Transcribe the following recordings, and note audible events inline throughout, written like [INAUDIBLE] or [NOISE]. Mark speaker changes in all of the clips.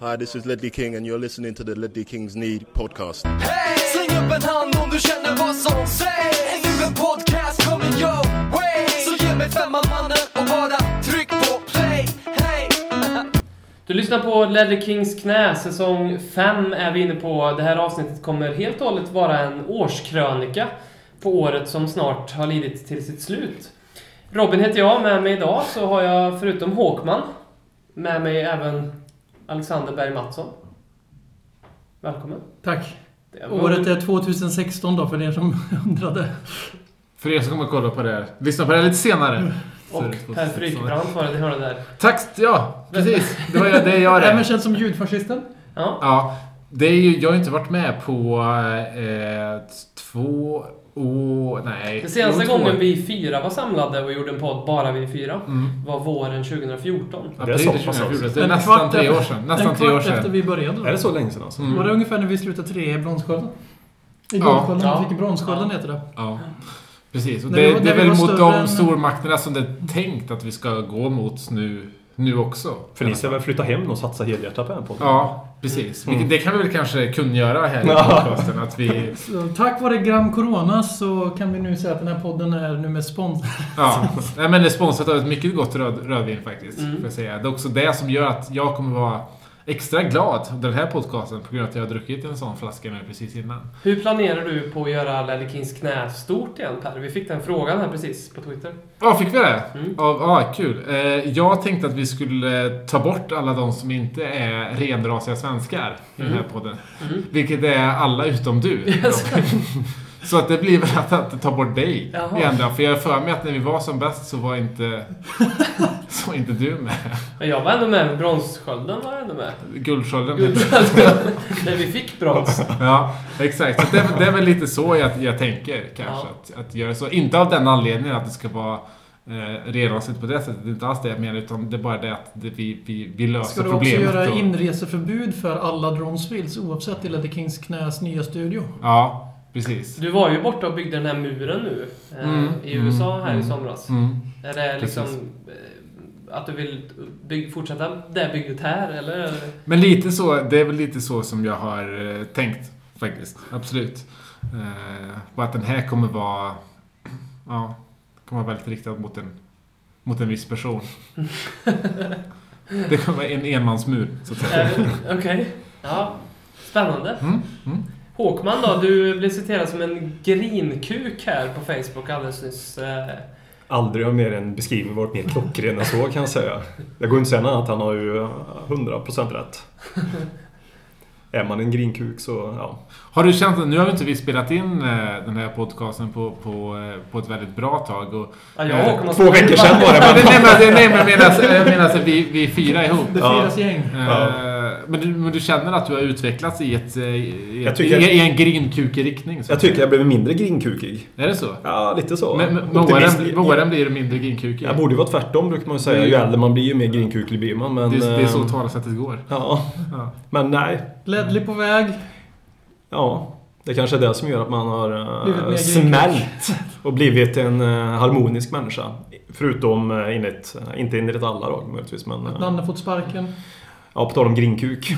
Speaker 1: Hi, this is Ledley King and you're listening to the Ledley Kings Need podcast.
Speaker 2: Hey! Släng upp en hand om du känner vad som sägs Ännu en podcast kommer your way Så ge mig femman mannen och bara tryck på play Hey!
Speaker 3: Du lyssnar på Ledley Kings knä, säsong 5 är vi inne på. Det här avsnittet kommer helt och hållet vara en årskrönika på året som snart har lidit till sitt slut. Robin heter jag, med mig idag så har jag förutom Håkman med mig även Alexander Berg Mattsson. Välkommen.
Speaker 4: Tack.
Speaker 3: Det var-
Speaker 4: Året är 2016 då, för er som [LAUGHS] undrade.
Speaker 5: För er som kommer kolla på det här. Lyssna på det här lite
Speaker 4: Mm.
Speaker 5: senare.
Speaker 3: Och Per Frykebrant var det, ni hörde där.
Speaker 5: liksom- Tack! Ja, precis. Det var jag, det är jag
Speaker 4: [LAUGHS] Även
Speaker 5: det.
Speaker 4: känd som ljudfascisten.
Speaker 3: Ja,
Speaker 5: Ja, det är ju, jag har ju inte varit med på eh, två år... Nej.
Speaker 3: den senaste
Speaker 5: jo, två år.
Speaker 3: gången vi fyra var samlade och gjorde en podd, bara vi fyra,
Speaker 5: Mm.
Speaker 3: var våren 2014.
Speaker 5: Ja, det är så pass alltså. Det är
Speaker 4: En
Speaker 5: nästan
Speaker 4: kvart
Speaker 5: tre
Speaker 4: efter-
Speaker 5: år sedan. Nästan
Speaker 4: en
Speaker 5: tre
Speaker 4: kvart
Speaker 5: år sedan.
Speaker 4: efter vi började då.
Speaker 6: Är det så länge sedan alltså?
Speaker 5: Mm.
Speaker 4: Var det ungefär när vi slutade tre i Bronsskölden? I
Speaker 5: Ja.
Speaker 4: Guldskölden. Ja.
Speaker 3: Ja.
Speaker 4: Vi fick Bronsskölden heter det.
Speaker 5: Ja. Precis. Och
Speaker 4: När
Speaker 5: det,
Speaker 4: vi var-
Speaker 5: det är
Speaker 4: när vi
Speaker 5: väl
Speaker 4: var
Speaker 5: mot
Speaker 4: större
Speaker 5: de
Speaker 4: än-
Speaker 5: stormakterna som det är tänkt att vi ska gå mot nu, nu också.
Speaker 6: För ni ska väl flytta hem och satsa helhjärtat på den podden?
Speaker 5: Ja, precis. Vilket- Det kan vi väl kanske kungöra här i
Speaker 6: Ja.
Speaker 5: podcasten. Att vi...
Speaker 4: Så, tack vare Gram Corona så kan vi nu säga att den här podden är nu med spons.
Speaker 5: Ja. Nej, men det är sponsrat av ett mycket gott röd, rödvin faktiskt.
Speaker 3: Mm.
Speaker 5: Får jag säga. Det är också det som gör att jag kommer vara extra glad av den här podcasten på grund av att jag har druckit en sån flaska nu precis innan.
Speaker 3: Hur planerar du på att göra Lelle Kings knä stort igen Per? Vi fick den frågan här precis på Twitter.
Speaker 5: Ja, fick vi det?
Speaker 3: Mm.
Speaker 5: Ja, ja, kul. Eh, jag tänkte att vi skulle eh, ta bort alla de som inte är renrasiga svenskar i den
Speaker 3: Mm.
Speaker 5: här podden. Vilket är alla utom du.
Speaker 3: [LAUGHS]
Speaker 5: [LAUGHS] Så att det blir väl att, att ta bort dig
Speaker 3: Jaha.
Speaker 5: igen då. För jag har för mig att när vi var som bäst så
Speaker 3: [LAUGHS]
Speaker 5: var inte, så var inte du med.
Speaker 3: Men jag var ändå med. Bronsskölden var jag ändå
Speaker 5: [LAUGHS]
Speaker 3: med.
Speaker 5: Guldskölden heter
Speaker 3: När vi fick brons.
Speaker 5: Ja, exakt. Så det, det är väl lite så jag, jag tänker kanske. Att, att göra så. Inte av den anledningen att det ska vara eh, renrasigt på det sättet. Det är inte alls det jag menar. Utan det är bara det att det, vi, vi, vi
Speaker 4: Ska
Speaker 5: löser
Speaker 4: du också
Speaker 5: problemet.
Speaker 4: göra
Speaker 5: då.
Speaker 4: inreseförbud för alla Dronsvilles oavsett i Ledder Kings knäs nya studio?
Speaker 5: Ja, precis.
Speaker 3: Du var ju borta och byggde den här muren nu. eh,
Speaker 5: Mm.
Speaker 3: I USA här i
Speaker 5: Mm.
Speaker 3: somras.
Speaker 5: Mm.
Speaker 3: Är det
Speaker 5: Precis.
Speaker 3: liksom eh, att du vill bygg, fortsätta det bygget här eller?
Speaker 5: Men lite så, det är väl lite så som jag har eh, tänkt faktiskt. Absolut. Eh, och att den här kommer vara... Ja, kommer vara väldigt riktad mot en, mot en
Speaker 4: [LAUGHS]
Speaker 5: viss person. Det kommer vara en enmansmur, så att säga.
Speaker 3: Eh, Okej. Ja. Spännande.
Speaker 5: Mm, mm.
Speaker 3: Håkman då, du blev citerad som en grinkuk här på Facebook alldeles nyss. Eh,
Speaker 6: Aldrig har mer en beskrivning varit mer klockren än så kan jag säga. Det går inte att säga något annat. Han har ju eh,
Speaker 5: [LAUGHS]
Speaker 6: 100% rätt. Är man en grinkuk så, ja.
Speaker 5: Har du känt att nu har vi inte vi spelat in eh, den här podcasten på, på, eh, på ett väldigt bra tag? Och,
Speaker 3: Ja, jag och
Speaker 5: Eh,
Speaker 3: Håkman
Speaker 6: Två veckor sedan var
Speaker 5: nej,
Speaker 6: det
Speaker 5: men- nej, men- nej, men jag menar, jag menar att vi, vi fyra ihop.
Speaker 4: Det
Speaker 6: Ja.
Speaker 4: firas gäng.
Speaker 5: Eh,
Speaker 6: Ja.
Speaker 5: Men, du, men du känner att du har utvecklats i, ett, eh, i,
Speaker 6: Jag
Speaker 5: ett,
Speaker 6: tycker-
Speaker 5: i, i en grinkukig riktning? så
Speaker 6: Jag
Speaker 5: att säga.
Speaker 6: tycker jag blev mindre grinkukig.
Speaker 5: Är det så?
Speaker 6: Ja, lite så.
Speaker 5: Men, men, med,
Speaker 6: Optimist-
Speaker 5: åren, med åren blir du mindre grinkukig?
Speaker 6: Jag borde ju vara tvärtom brukar man ju säga. Ju äldre man blir ju mer grinkuklig blir man. Men,
Speaker 5: det, är- det är så
Speaker 6: eh,
Speaker 5: talesättet går.
Speaker 6: Ja,
Speaker 5: Ja.
Speaker 6: men nej.
Speaker 4: Ledley på väg.
Speaker 6: Ja, det kanske är det som gör att man har
Speaker 4: Blivit mer
Speaker 6: uh,
Speaker 4: grekisk. [LAUGHS]
Speaker 6: smält och blivit en eh, harmonisk människa. Förutom uh, enligt, eh, inte enligt alla då möjligtvis, men eh,
Speaker 4: Nanne fått sparken.
Speaker 6: ja, på tal
Speaker 4: [LAUGHS]
Speaker 6: om grinkuk.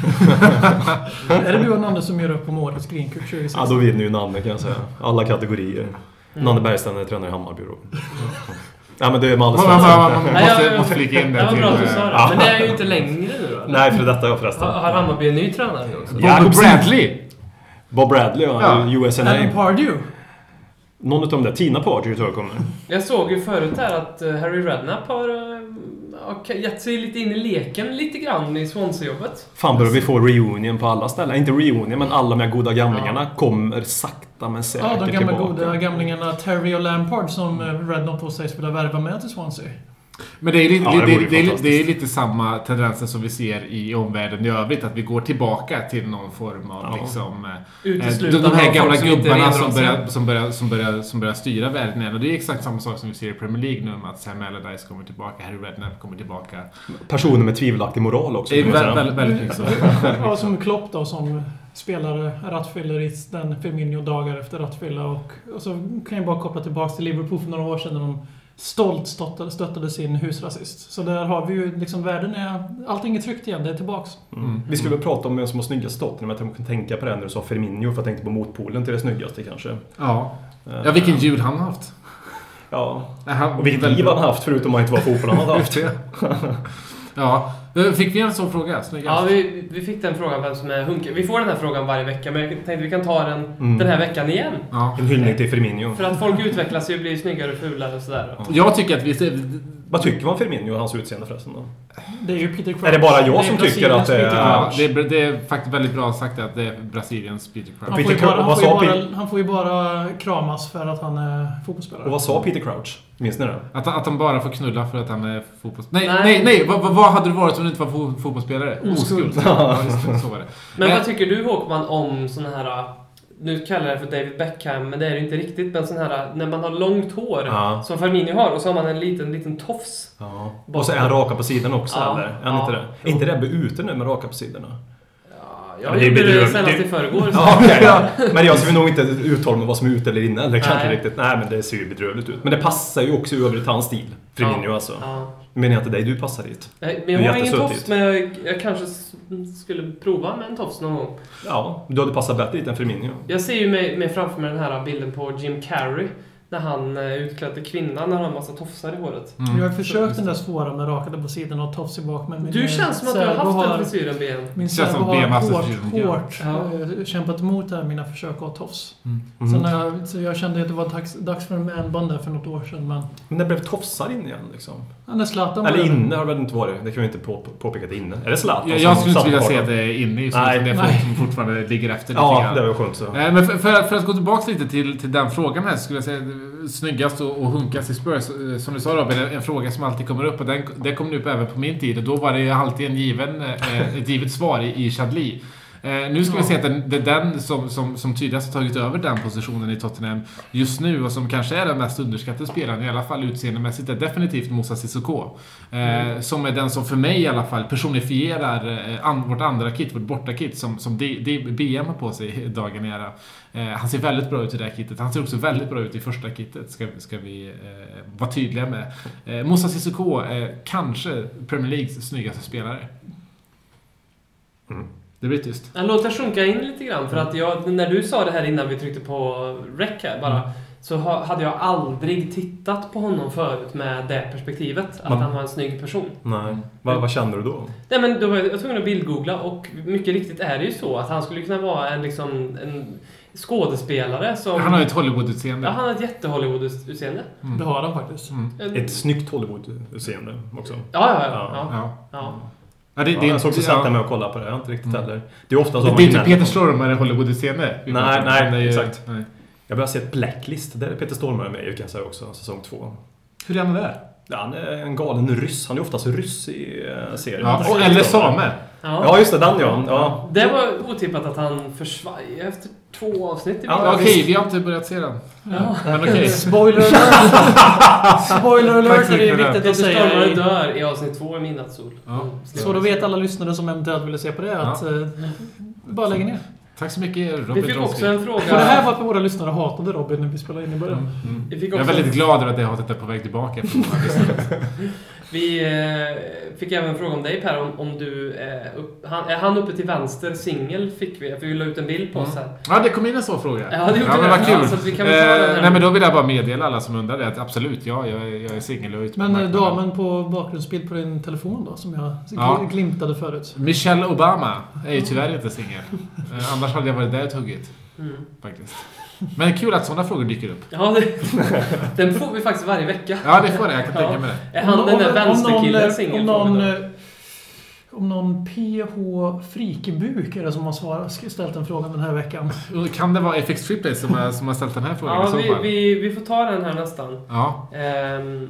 Speaker 4: Är det du och Nanne som gör upp om årets Greencup 2016?
Speaker 6: ja, då vinner ju Nanne kan jag säga. Alla kategorier.
Speaker 4: Mm.
Speaker 6: Nanne Bergsten är tränare i Hammarby då.
Speaker 4: [LAUGHS]
Speaker 6: Ja, men det är med alla
Speaker 5: Man, man, man, man
Speaker 6: svenskar.
Speaker 3: Nej,
Speaker 5: måste,
Speaker 3: jag-
Speaker 5: måste flika in
Speaker 3: Det
Speaker 5: det
Speaker 3: var
Speaker 5: till...
Speaker 3: bra att du sa
Speaker 5: eh,
Speaker 3: det. Men det är ju inte längre nu då. eller?
Speaker 6: Nej, för detta jag förresten.
Speaker 3: Har, har Hammarby en ny tränare nu också?
Speaker 6: Ja,
Speaker 5: Bob
Speaker 6: precis.
Speaker 5: Bradley!
Speaker 6: Bob Bradley, ja.
Speaker 5: Ja.
Speaker 4: Alan
Speaker 6: USNA.
Speaker 4: Pardew.
Speaker 6: Någon utav de där. Tina Party tror jag kommer.
Speaker 3: Jag såg ju förut här att eh, Harry Redknapp har eh, har gett sig lite in i leken lite grann i Swansea-jobbet.
Speaker 6: Fan börjar vi få reunion på alla ställen. Inte reunion, men alla de här goda gamlingarna kommer sakta men säkert
Speaker 4: Ja, de gamla
Speaker 6: tillbaka.
Speaker 4: goda gamlingarna Terry och Lampard som eh, Redknapp då sägs vilja värva med till Swansea.
Speaker 5: Men det är, lite,
Speaker 6: Ja, det
Speaker 5: det, det,
Speaker 6: vore ju
Speaker 5: det, är,
Speaker 6: fantastiskt.
Speaker 5: det är lite samma tendenser som vi ser i omvärlden i övrigt. Att vi går tillbaka till någon form av
Speaker 6: Ja.
Speaker 5: liksom... eh, eh,
Speaker 3: Uteslutande
Speaker 5: De
Speaker 3: av
Speaker 5: här
Speaker 3: folk
Speaker 5: gamla
Speaker 3: som inte
Speaker 5: gubbarna
Speaker 3: renodlar
Speaker 5: som
Speaker 3: sig.
Speaker 5: börjar, som, börjar, som, börjar, som börjar styra världen igen. Och det är exakt samma sak som vi ser i Premier League nu. Med att Sam Allardyce kommer tillbaka, Harry Redknapp kommer tillbaka.
Speaker 6: Personer med tvivelaktig moral också.
Speaker 5: Det är
Speaker 6: kan man
Speaker 5: väldigt,
Speaker 6: säga.
Speaker 5: väldigt, väldigt mycket så.
Speaker 4: [LAUGHS] Ja, som Klopp då som eh, spelare rattfylleristen Firmino dagar efter rattfylla och, och så kan jag bara koppla tillbaks till Liverpool för några år sedan när de stolt stöttade, stöttade sin husrasist. Så där har vi ju liksom, världen är... Allting är tryggt igen, det är tillbaks.
Speaker 6: Mm. Vi skulle väl prata om vem som har snyggast staten, men jag tänkte- jag tänkte på det när du sa Firmino, för jag tänkte på motpolen till det snyggaste kanske. Eh,
Speaker 5: Ja. Ja, vilken jul han har haft.
Speaker 6: Ja.
Speaker 5: Nej, han-
Speaker 6: Och vilket
Speaker 5: väldigt
Speaker 6: liv
Speaker 5: bra.
Speaker 6: han haft, förutom att inte vara fotboll han
Speaker 5: [LAUGHS]
Speaker 6: hade haft. [LAUGHS]
Speaker 5: Ja. Eh, Fick vi en sån fråga?
Speaker 3: Ja,
Speaker 5: Snyggast.
Speaker 3: vi, vi fick den frågan vem som är hunkig. Vi får den här frågan varje vecka, men jag tänkte vi kan ta den
Speaker 6: Mm.
Speaker 3: den här veckan igen.
Speaker 5: Ja.
Speaker 6: En hyllning till Firmino.
Speaker 3: För att folk utvecklas ju, blir snyggare och fulare och sådär.
Speaker 5: Jag tycker att vi...
Speaker 6: Vad tycker man om Firmino och hans utseende förresten då?
Speaker 4: Det är ju Peter Crouch.
Speaker 6: Är det bara
Speaker 4: är
Speaker 6: jag som tycker
Speaker 4: Brasiliens
Speaker 6: att det
Speaker 4: Peter
Speaker 5: Ja,
Speaker 6: är...
Speaker 5: det, är, det är faktiskt väldigt bra sagt att det är Brasiliens Peter Crouch.
Speaker 4: Han får, ju
Speaker 6: Peter
Speaker 4: bara, han,
Speaker 6: Crouch-
Speaker 4: får ju
Speaker 6: vad sa
Speaker 4: bara, han får ju bara kramas för att han är fotbollsspelare.
Speaker 6: Och vad sa Peter Crouch? Minns ni det?
Speaker 5: Att, att han bara får knulla för att han är fotbolls... Nej,
Speaker 3: Nej.
Speaker 5: nej, nej! vad, vad- vad hade du varit om du inte var fo- fotbollsspelare? Oskuld. Ja, just det, så var det.
Speaker 3: Men
Speaker 5: Eh,
Speaker 3: vad tycker du Håkman om såna här... eh, Nu kallar jag det för David Beckham, men det är det inte riktigt. Men sån här, eh, när man har långt hår,
Speaker 6: Ja.
Speaker 3: som Firmino har, och så har man en liten, liten tofs.
Speaker 6: Och så är han raka på sidorna också
Speaker 3: Ja.
Speaker 6: eller? Är han
Speaker 3: Ja.
Speaker 6: inte det? Är inte det ute nu med raka på sidorna?
Speaker 3: Ja,
Speaker 6: Ja,
Speaker 3: jag
Speaker 6: men det
Speaker 3: gjorde
Speaker 6: blir-
Speaker 3: det senast
Speaker 6: det-
Speaker 3: i förrgår. Så.
Speaker 6: Ja, okej. Alltså. Men jag skulle nog inte uttala mig vad som är ute eller inne. Eller kanske
Speaker 3: Nej.
Speaker 6: riktigt. Nej, men det ser ju bedrövligt ut. Men det passar ju också i övrigt hans stil. Firmino
Speaker 3: Ja.
Speaker 6: alltså.
Speaker 3: Ja.
Speaker 6: Menar jag inte dig, du passar dit.
Speaker 3: Nej,
Speaker 6: Det
Speaker 3: Men
Speaker 6: är
Speaker 3: jag har ingen
Speaker 6: jättesuttigt.
Speaker 3: tofs, men jag, jag kanske s- skulle prova med en tofs någon gång.
Speaker 6: Ja, du hade passat bättre dit än Firmino.
Speaker 5: Mm.
Speaker 3: Jag ser ju mig, mig framför mig den här bilden på Jim Carrey. När han eh, utklädde kvinnan, när han har en massa tofsar i håret.
Speaker 5: Mm.
Speaker 4: Jag har försökt den där svåra med rakade på sidan och tofs i bak. Men min,
Speaker 3: Du
Speaker 4: eh,
Speaker 3: känns som att du har
Speaker 4: särbo
Speaker 3: haft den frisyren Ben.
Speaker 4: Min
Speaker 5: Känns
Speaker 4: särbo
Speaker 5: som
Speaker 4: har
Speaker 5: BMS
Speaker 4: hårt,
Speaker 5: frisyren,
Speaker 4: hårt
Speaker 3: ja.
Speaker 4: eh, kämpat emot det här, mina försök att ha tofs.
Speaker 6: Mm.
Speaker 4: Så, när jag, så jag kände att det var dags, dags för en manband där för något år sedan. Men
Speaker 6: Men det blev tofsar in igen liksom.
Speaker 4: ja, när Zlatan var
Speaker 6: Eller
Speaker 4: där-
Speaker 6: inne har det väl inte varit. Det kan vi inte på, påpeka att det är inne. Är det Zlatan
Speaker 5: Jag, jag
Speaker 6: som
Speaker 5: skulle inte vilja
Speaker 6: satt
Speaker 5: se
Speaker 6: kvar
Speaker 5: att
Speaker 6: då?
Speaker 5: det är inne i så
Speaker 6: Nej.
Speaker 5: att det är folk som fortfarande ligger efter lite
Speaker 6: Ja,
Speaker 5: grann.
Speaker 6: det var skönt så.
Speaker 5: Nej, Eh, men för, för, för att gå tillbaka lite till, till den frågan här så skulle jag säga eh, snyggast och, och hunkast i Spurs. eh, Som du sa Robin, en, en fråga som alltid kommer upp och den, den kom upp även på min tid och då var det ju alltid en given, eh, ett givet svar i, i Chadli. Eh, nu ska vi se att den, det är den som, som, som tydligast har tagit över den positionen i Tottenham just nu och som kanske är den mest underskattade spelaren, i alla fall utseendemässigt, är definitivt Moussa Sissoko. Eh,
Speaker 6: Mm.
Speaker 5: Som är den som för mig i alla fall personifierar eh, an, vårt andra kit, vårt bortakit som, som D, D, BM har på sig dagen i ära. Eh, han ser väldigt bra ut i det här kittet. Han ser också väldigt bra ut i första kittet, ska, ska vi eh, vara tydliga med. Eh, Moussa Sissoko är kanske Premier Leagues snyggaste spelare.
Speaker 6: Mm.
Speaker 5: Det blir tyst.
Speaker 3: Jag låter sjunka in lite grann, för att jag, när du sa det här innan vi tryckte på rec här bara, så ha, hade jag aldrig tittat på honom förut med det perspektivet, att
Speaker 6: Man-
Speaker 3: han var en snygg person.
Speaker 6: Nej. Vad, vad känner du då?
Speaker 3: Nej men då var jag, jag tvungen att bildgoogla och mycket riktigt är det ju så att han skulle kunna vara en, liksom, en skådespelare som...
Speaker 5: Han har ju ett Hollywood-utseende.
Speaker 3: ja, han har ett jätte-Hollywood-utseende.
Speaker 4: Det har han faktiskt.
Speaker 3: En-
Speaker 6: Ett snyggt Hollywood-utseende också.
Speaker 3: Ja, ja, ja.
Speaker 6: Ja.
Speaker 3: ja. ja.
Speaker 5: Ja.
Speaker 3: ja.
Speaker 5: Ja, det,
Speaker 6: Ja,
Speaker 5: det,
Speaker 6: jag såg också
Speaker 5: ja. Mm.
Speaker 6: satt där med och kollade på det. Jag har inte riktigt heller. Det är ofta så
Speaker 5: det,
Speaker 6: man
Speaker 5: det är inte
Speaker 6: gnäller
Speaker 5: Peter
Speaker 6: på-
Speaker 5: Stormare Hollywood-utseende. vi
Speaker 6: Nej,
Speaker 5: pratar om.
Speaker 6: nej,
Speaker 5: Men det är ju-
Speaker 6: exakt.
Speaker 5: nej.
Speaker 6: Jag börjar se ett Blacklist. Där är Peter Stormare med kan jag säga också. Säsong två.
Speaker 5: Hur är han där?
Speaker 6: Ja, han är en galen ryss. Han är oftast ryss i eh, serien.
Speaker 5: Ja,
Speaker 6: Peter
Speaker 5: och, eller
Speaker 6: Stormare.
Speaker 5: same.
Speaker 6: Ja, just det. Den ja. ja.
Speaker 3: Det var otippat att han försvann efter två avsnitt. i
Speaker 6: Ja,
Speaker 3: bild.
Speaker 5: Ja, Okej,
Speaker 6: visst.
Speaker 5: vi har inte börjat se den. Men okej.
Speaker 4: Spoiler alert!
Speaker 5: [LAUGHS]
Speaker 4: Spoiler alert!
Speaker 5: Tack så
Speaker 4: Det är
Speaker 5: mycket för
Speaker 4: viktigt
Speaker 3: Peter
Speaker 4: att säga.
Speaker 3: Stormare
Speaker 4: i-
Speaker 3: dör i avsnitt två i Midnattssol.
Speaker 5: Ja.
Speaker 4: Så då vet alla lyssnare som eventuellt ville se på det att eh, bara lägga ner.
Speaker 5: Tack så mycket Robin
Speaker 3: Vi fick
Speaker 5: Drosky.
Speaker 3: också en fråga...
Speaker 4: För det här var att våra lyssnare hatade Robin när vi spelade in i början.
Speaker 3: Vi fick
Speaker 5: Jag är
Speaker 3: också
Speaker 5: väldigt glad över att det hatet är på
Speaker 3: [LAUGHS]
Speaker 5: väg tillbaka. efter många lyssnare.
Speaker 3: Vi eh, fick även fråga om dig Per, om, om du... Eh, upp, han, är han uppe till vänster singel? Fick vi, för vi la ut en bild på oss här.
Speaker 5: ja, det kom in en sån fråga.
Speaker 3: Ja, det gjorde
Speaker 5: men
Speaker 3: det.
Speaker 5: vad
Speaker 3: Ja,
Speaker 5: kul. Eh,
Speaker 3: så att vi kan väl ta den här
Speaker 5: nej,
Speaker 3: nu.
Speaker 5: men då vill jag bara meddela alla som undrar det att absolut, ja, jag, är- jag är singel och ute på
Speaker 4: Men eh,
Speaker 5: marknaden.
Speaker 4: damen på bakgrundsbild på din telefon då, som jag
Speaker 5: Ja.
Speaker 4: gl- glimtade förut.
Speaker 5: Michelle Obama är ju tyvärr inte singel. Eh, Annars hade jag varit där och tuggit. Faktiskt. Men kul att sådana frågor dyker upp.
Speaker 3: Mm. Ja, det, [LAUGHS] den får vi faktiskt varje vecka.
Speaker 5: Ja, det får det. Jag kan tänka mig det.
Speaker 3: Är han den där vänsterkillen
Speaker 4: Om
Speaker 3: singel?
Speaker 4: någon,
Speaker 3: frågade
Speaker 4: eh, om någon PH Frikebuk är det som har svarat, ställt den frågan den här veckan.
Speaker 5: Och Kan det vara FX Triplay som har, som har ställt den här frågan i
Speaker 3: Ja,
Speaker 5: så
Speaker 3: vi,
Speaker 5: fall?
Speaker 3: vi, vi får ta den här nästan.
Speaker 5: Ja.
Speaker 3: Ehm,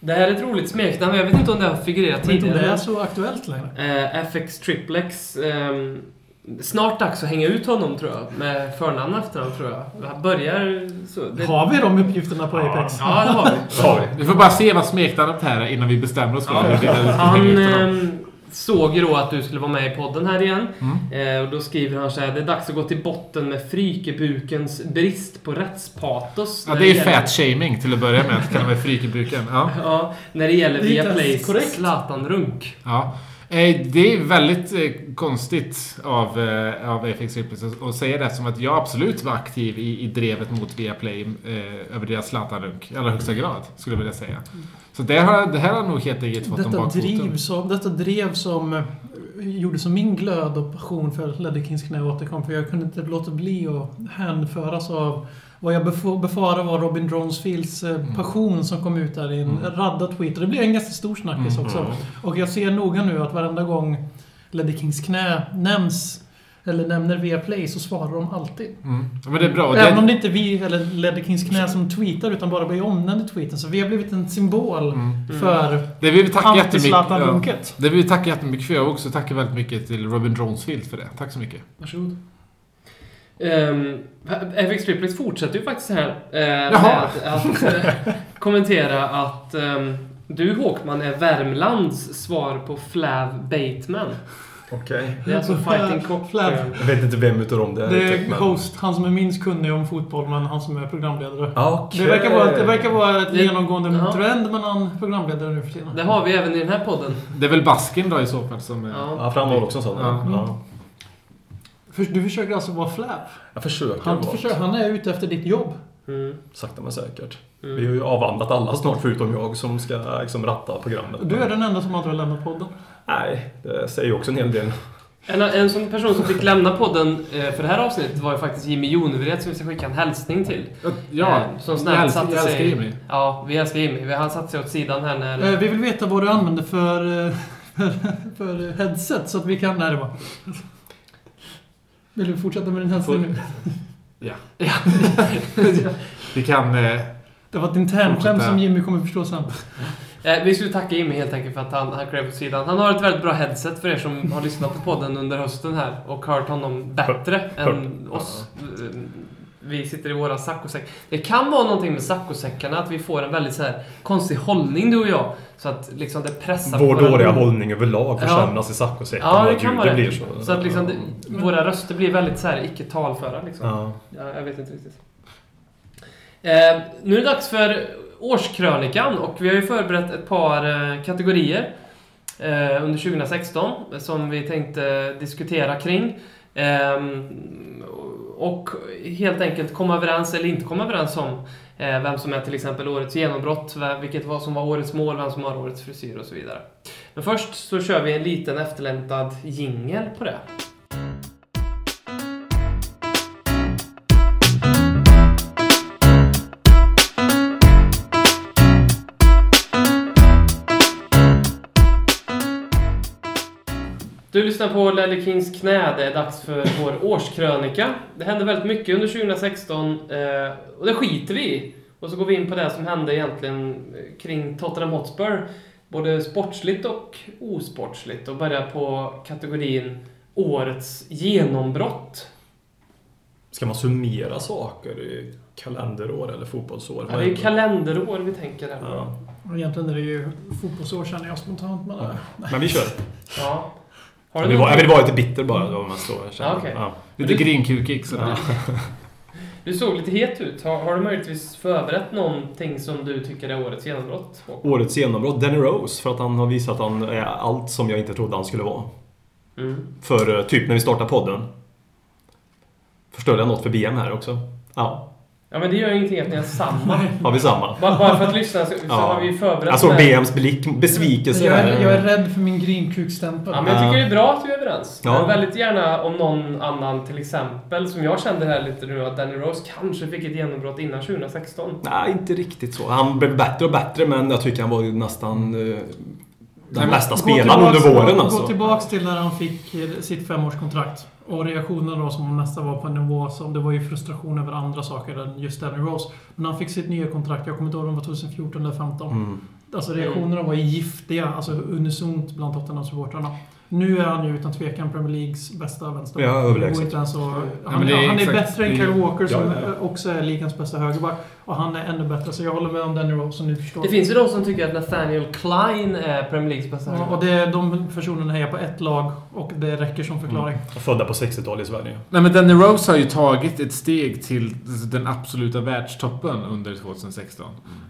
Speaker 3: det här är ett roligt smeknamn, jag vet inte om det har figurerat
Speaker 4: Jag vet inte om
Speaker 3: tidigare.
Speaker 4: det är så aktuellt längre.
Speaker 3: Eh, FX Triplex. ehm, snart dags att hänga ut honom tror jag. Med förnamn och efternamn tror jag. Han börjar så. Det, ja,
Speaker 4: Har vi de uppgifterna på Apex?
Speaker 3: det har vi.
Speaker 6: Sorry.
Speaker 5: Vi får bara se vad smeknamnet här är innan vi bestämmer oss för hur vi- hur vi ska
Speaker 3: Han,
Speaker 5: hänga ut honom.
Speaker 3: ehm, såg ju då att du skulle vara med i podden här igen.
Speaker 4: Mm.
Speaker 3: Eh, och då skriver han så här. Det är dags att gå till botten med frykebukens brist på rättspatos.
Speaker 5: Ja,
Speaker 3: när
Speaker 5: det är ju
Speaker 3: gäller-
Speaker 5: fat-shaming till att börja med, att kalla mig frykebuken. Ja.
Speaker 3: Ja, när det gäller
Speaker 4: Det är inte ens
Speaker 3: Viaplays
Speaker 4: korrekt.
Speaker 3: Zlatan-runk.
Speaker 5: Ja. Eh, Det är väldigt eh, konstigt av, eh, av FX Ripples att- att säga det som att jag absolut var aktiv i, i drevet mot Viaplay eh, över deras Zlatan-runk. I allra högsta
Speaker 4: Mm.
Speaker 5: grad, skulle jag vilja säga. Så det, har, det här har nog helt enkelt fått dem
Speaker 4: Detta,
Speaker 5: bakfoten.
Speaker 4: driv som, detta drev som eh, gjorde som min glöd och passion för Ledderkings knä återkom. För jag kunde inte låta bli att hänföras av vad jag befo- befarar var Robin Dronsfields eh,
Speaker 5: Mm.
Speaker 4: passion som kom ut där i en radda tweeter. Det blev en ganska stor snackis
Speaker 5: Mm.
Speaker 4: också. Och jag ser noga nu att varenda gång Ledderkings knä nämns eller nämner Viaplay så svarar de alltid.
Speaker 5: Mm. Ja, Men det är bra. Och
Speaker 4: Även
Speaker 5: det-
Speaker 4: om det inte är vi eller Ledderkings knä som tweetar utan bara blir omnämnd i tweeten. Så vi har blivit en symbol för
Speaker 5: mm. Det vill vi tacka jättemycket. Ja.
Speaker 4: Anti-Zlatan-runket.
Speaker 5: Det vill vi tacka jättemycket för. Jag också tackar väldigt mycket till Robin Dronsfield för det. Tack så mycket.
Speaker 3: Varsågod.
Speaker 4: Ehm,
Speaker 3: Um, FX Triplex fortsätter ju faktiskt här eh, med
Speaker 5: Jaha.
Speaker 3: att, att eh, kommentera att ehm, du Håkman är Värmlands svar på Flav Bateman.
Speaker 6: Okej.
Speaker 3: Det är
Speaker 4: [LAUGHS]
Speaker 3: alltså Fighting Cock.
Speaker 4: Flav.
Speaker 3: eh,
Speaker 6: Jag vet inte vem utav dem det är.
Speaker 4: Det är
Speaker 6: riktigt, men-
Speaker 4: host, han som är minst kunnig om fotboll, men han som är programledare.
Speaker 6: Okej.
Speaker 4: Det verkar vara, det verkar vara ett
Speaker 3: Det-
Speaker 4: genomgående
Speaker 3: ja.
Speaker 4: trend mellan programledare nu för tiden.
Speaker 3: Det har vi även i den här podden.
Speaker 5: Det är väl basken då i så fall som... eh,
Speaker 3: Ja.
Speaker 6: Ja, för han har också en sån.
Speaker 5: Ja.
Speaker 6: Ja.
Speaker 4: För- Du försöker alltså vara flav.
Speaker 6: Jag försöker
Speaker 4: Han,
Speaker 6: vara
Speaker 4: försöker, han är ute efter ditt jobb.
Speaker 3: Mm.
Speaker 6: sakta men säkert. Vi har ju avhandlat alla snart förutom jag som ska liksom, ratta programmet.
Speaker 4: Du är den enda som aldrig har lämnat podden.
Speaker 6: Nej, det säger ju också en hel del.
Speaker 3: En, en sån person som fick lämna podden eh, för det här avsnittet var ju faktiskt Jimmy Jonevred som vi ska skicka en hälsning till.
Speaker 5: Ja,
Speaker 3: Eh, som
Speaker 5: jag
Speaker 3: snällt
Speaker 5: älskar,
Speaker 3: satte
Speaker 5: jag älskar
Speaker 3: sig...
Speaker 5: Jimmy.
Speaker 3: Ja, vi älskar Jimmy. Han satte sig åt sidan här när...
Speaker 4: Eh, Vi vill veta vad du använder för, eh, [LAUGHS] för, för headset så att vi kan... Nej, det var... Vill du fortsätta med din hälsning nu?
Speaker 5: Vi kan... Eh,
Speaker 4: Det var ett internskämt
Speaker 5: Fortsätta.
Speaker 4: som Jimmy kommer förstå sen.
Speaker 3: Eh, vi skulle tacka Jimmy helt enkelt för att han, han klev åt sidan. Han har ett väldigt bra headset för er som har lyssnat på podden under hösten här och hört honom bättre än oss. Eh, Vi sitter i våra saccosäck. Det kan vara någonting med saccosäckarna, att vi får en väldigt så här konstig hållning du och jag. Så att liksom det pressar
Speaker 6: Vår
Speaker 3: våra-
Speaker 6: dåliga hållning överlag
Speaker 3: Ja.
Speaker 6: försämras i saccosäcken.
Speaker 3: Ja,
Speaker 6: och
Speaker 3: det
Speaker 6: att
Speaker 3: kan
Speaker 6: ljud-
Speaker 3: vara det.
Speaker 6: blir så.
Speaker 3: Så att liksom det, våra röster blir väldigt så här icke talföra liksom.
Speaker 6: Ja.
Speaker 3: Ja, jag vet inte riktigt. Eh, nu är det dags för årskrönikan och vi har ju förberett ett par eh, kategorier eh, under 2016 eh, som vi tänkte diskutera kring. Ehm, och helt enkelt komma överens eller inte komma överens om eh, vem som är till exempel årets genombrott, vem- vilket vad som var årets mål, vem som har årets frisyr och så vidare. Men först så kör vi en liten efterlängtad jingel på det. Du lyssnar på Lelle Kings knä. Det är dags för vår årskrönika. Det hände väldigt mycket under 2016 eh, och det skiter vi i. Och så går vi in på det som hände egentligen eh, kring Tottenham Hotspur. Både sportsligt och osportsligt och börjar på kategorin Årets genombrott.
Speaker 6: Ska man summera saker i kalenderår eller fotbollsår?
Speaker 3: Ja, det är ju kalenderår vi tänker här.
Speaker 6: Ja.
Speaker 4: Egentligen är det ju fotbollsår känner jag spontant. Men,
Speaker 6: Men vi kör.
Speaker 3: Ja. Har
Speaker 6: Jag
Speaker 3: du
Speaker 6: vill, vara,
Speaker 3: någonting?
Speaker 6: jag vill vara lite bitter bara. Då, om man står, känner.
Speaker 3: Ja, okej.
Speaker 6: ja.
Speaker 5: Lite grinkukig sådär.
Speaker 3: Du såg lite het ut. Har, har du möjligtvis förberett någonting som du tycker är årets genombrott?
Speaker 6: Årets genombrott, Danny Rose. För att han har visat att han är allt som jag inte trodde han skulle vara.
Speaker 3: Mm.
Speaker 6: För eh, typ när vi startade podden. Förstörde jag något för BM här också? Ja,
Speaker 3: Ja, men det gör ju ingenting att ni har samma.
Speaker 6: har vi samma?
Speaker 3: Bara, bara för att lyssna så, så
Speaker 6: Ja. Alltså,
Speaker 3: har vi ju förberett
Speaker 6: Jag såg
Speaker 3: det här.
Speaker 6: BMs blick, besvikelse.
Speaker 4: jag, är,
Speaker 6: där.
Speaker 4: jag är rädd för min grinkukstämpel.
Speaker 3: Ja, men jag
Speaker 6: Ja.
Speaker 3: tycker det är bra att vi är överens.
Speaker 6: Ja.
Speaker 3: Men väldigt gärna om någon annan, till exempel, som jag kände här lite nu, att Danny Rose kanske fick ett genombrott innan 2016.
Speaker 6: Nej, inte riktigt så. Han blev bättre och bättre, men jag tycker han var ju nästan eh, den bästa
Speaker 4: Gå
Speaker 6: spelaren under
Speaker 4: tillbaks-
Speaker 6: våren
Speaker 4: gå- Gå
Speaker 6: alltså.
Speaker 4: tillbaks till när han fick eh, sitt femårskontrakt. Och reaktionen då som nästan var på en nivå som... Det var ju frustration över andra saker än just Danny Rose. Men när han fick sitt nya kontrakt, jag kommer inte ihåg om det var 2014 eller 2015.
Speaker 6: Mm.
Speaker 4: Alltså reaktionerna var giftiga, alltså unisont bland Tottenham-supportrarna. Nu är han ju utan tvekan Premier Leagues bästa vänsterback.
Speaker 6: Ja, överlägset.
Speaker 4: Det går inte ens att-
Speaker 5: men
Speaker 4: Han,
Speaker 5: det är
Speaker 4: han är
Speaker 5: exakt-
Speaker 4: bättre än
Speaker 5: det är-
Speaker 4: Kyle Walker som
Speaker 6: Ja, ja, ja.
Speaker 4: också är ligans bästa högerback. Och han är ännu bättre, så jag håller med om Danny Rose som ni förstår.
Speaker 3: Det finns ju de som tycker att Nathaniel Klein är Premier Leages bästa
Speaker 4: Ja, och
Speaker 3: högerback.
Speaker 4: det, är- de personerna hejar på ett lag och det räcker som förklaring.
Speaker 6: Födda på 60-talet i Sverige.
Speaker 5: Nej men Danny Rose har ju tagit ett steg till den absoluta världstoppen under 2016.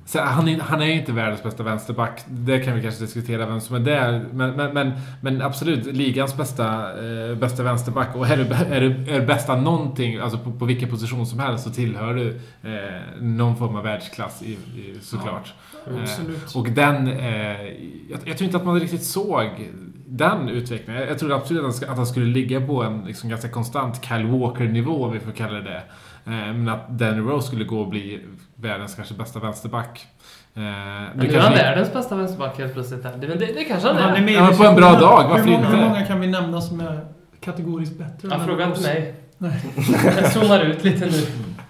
Speaker 5: Så han, är, han är ju inte världens bästa vänsterback. Det kan vi kanske diskutera vem som är där. Men, men, men, men absolut, ligans bästa, eh, bästa vänsterback. Och är du, är du är du bästa någonting, alltså på, på vilken position som helst, så tillhör du eh, någon form av världsklass i, i, såklart. Eh,
Speaker 4: Mm. Absolut.
Speaker 5: Och den... Eh, jag, jag tror inte att man riktigt såg den utvecklingen. Jag, jag trodde absolut att han, ska, att han skulle ligga på en liksom, ganska konstant Kyle Walker-nivå, om vi får kalla det det. Eh, men att Danny Rose skulle gå och bli världens kanske bästa vänsterback. Eh,
Speaker 3: Men nu är han världens bästa vänsterback helt plötsligt. här. Det, men det, det kanske han är.
Speaker 4: Han är med i
Speaker 5: Ja, men på en bra
Speaker 4: diskussionen.
Speaker 5: dag, varför
Speaker 4: hur många,
Speaker 5: inte?
Speaker 4: Hur många kan vi nämna som är kategoriskt bättre?
Speaker 3: Ja,
Speaker 4: än
Speaker 3: fråga inte
Speaker 4: Rose?
Speaker 3: mig.
Speaker 4: Nej.
Speaker 3: Jag zoomar ut lite nu.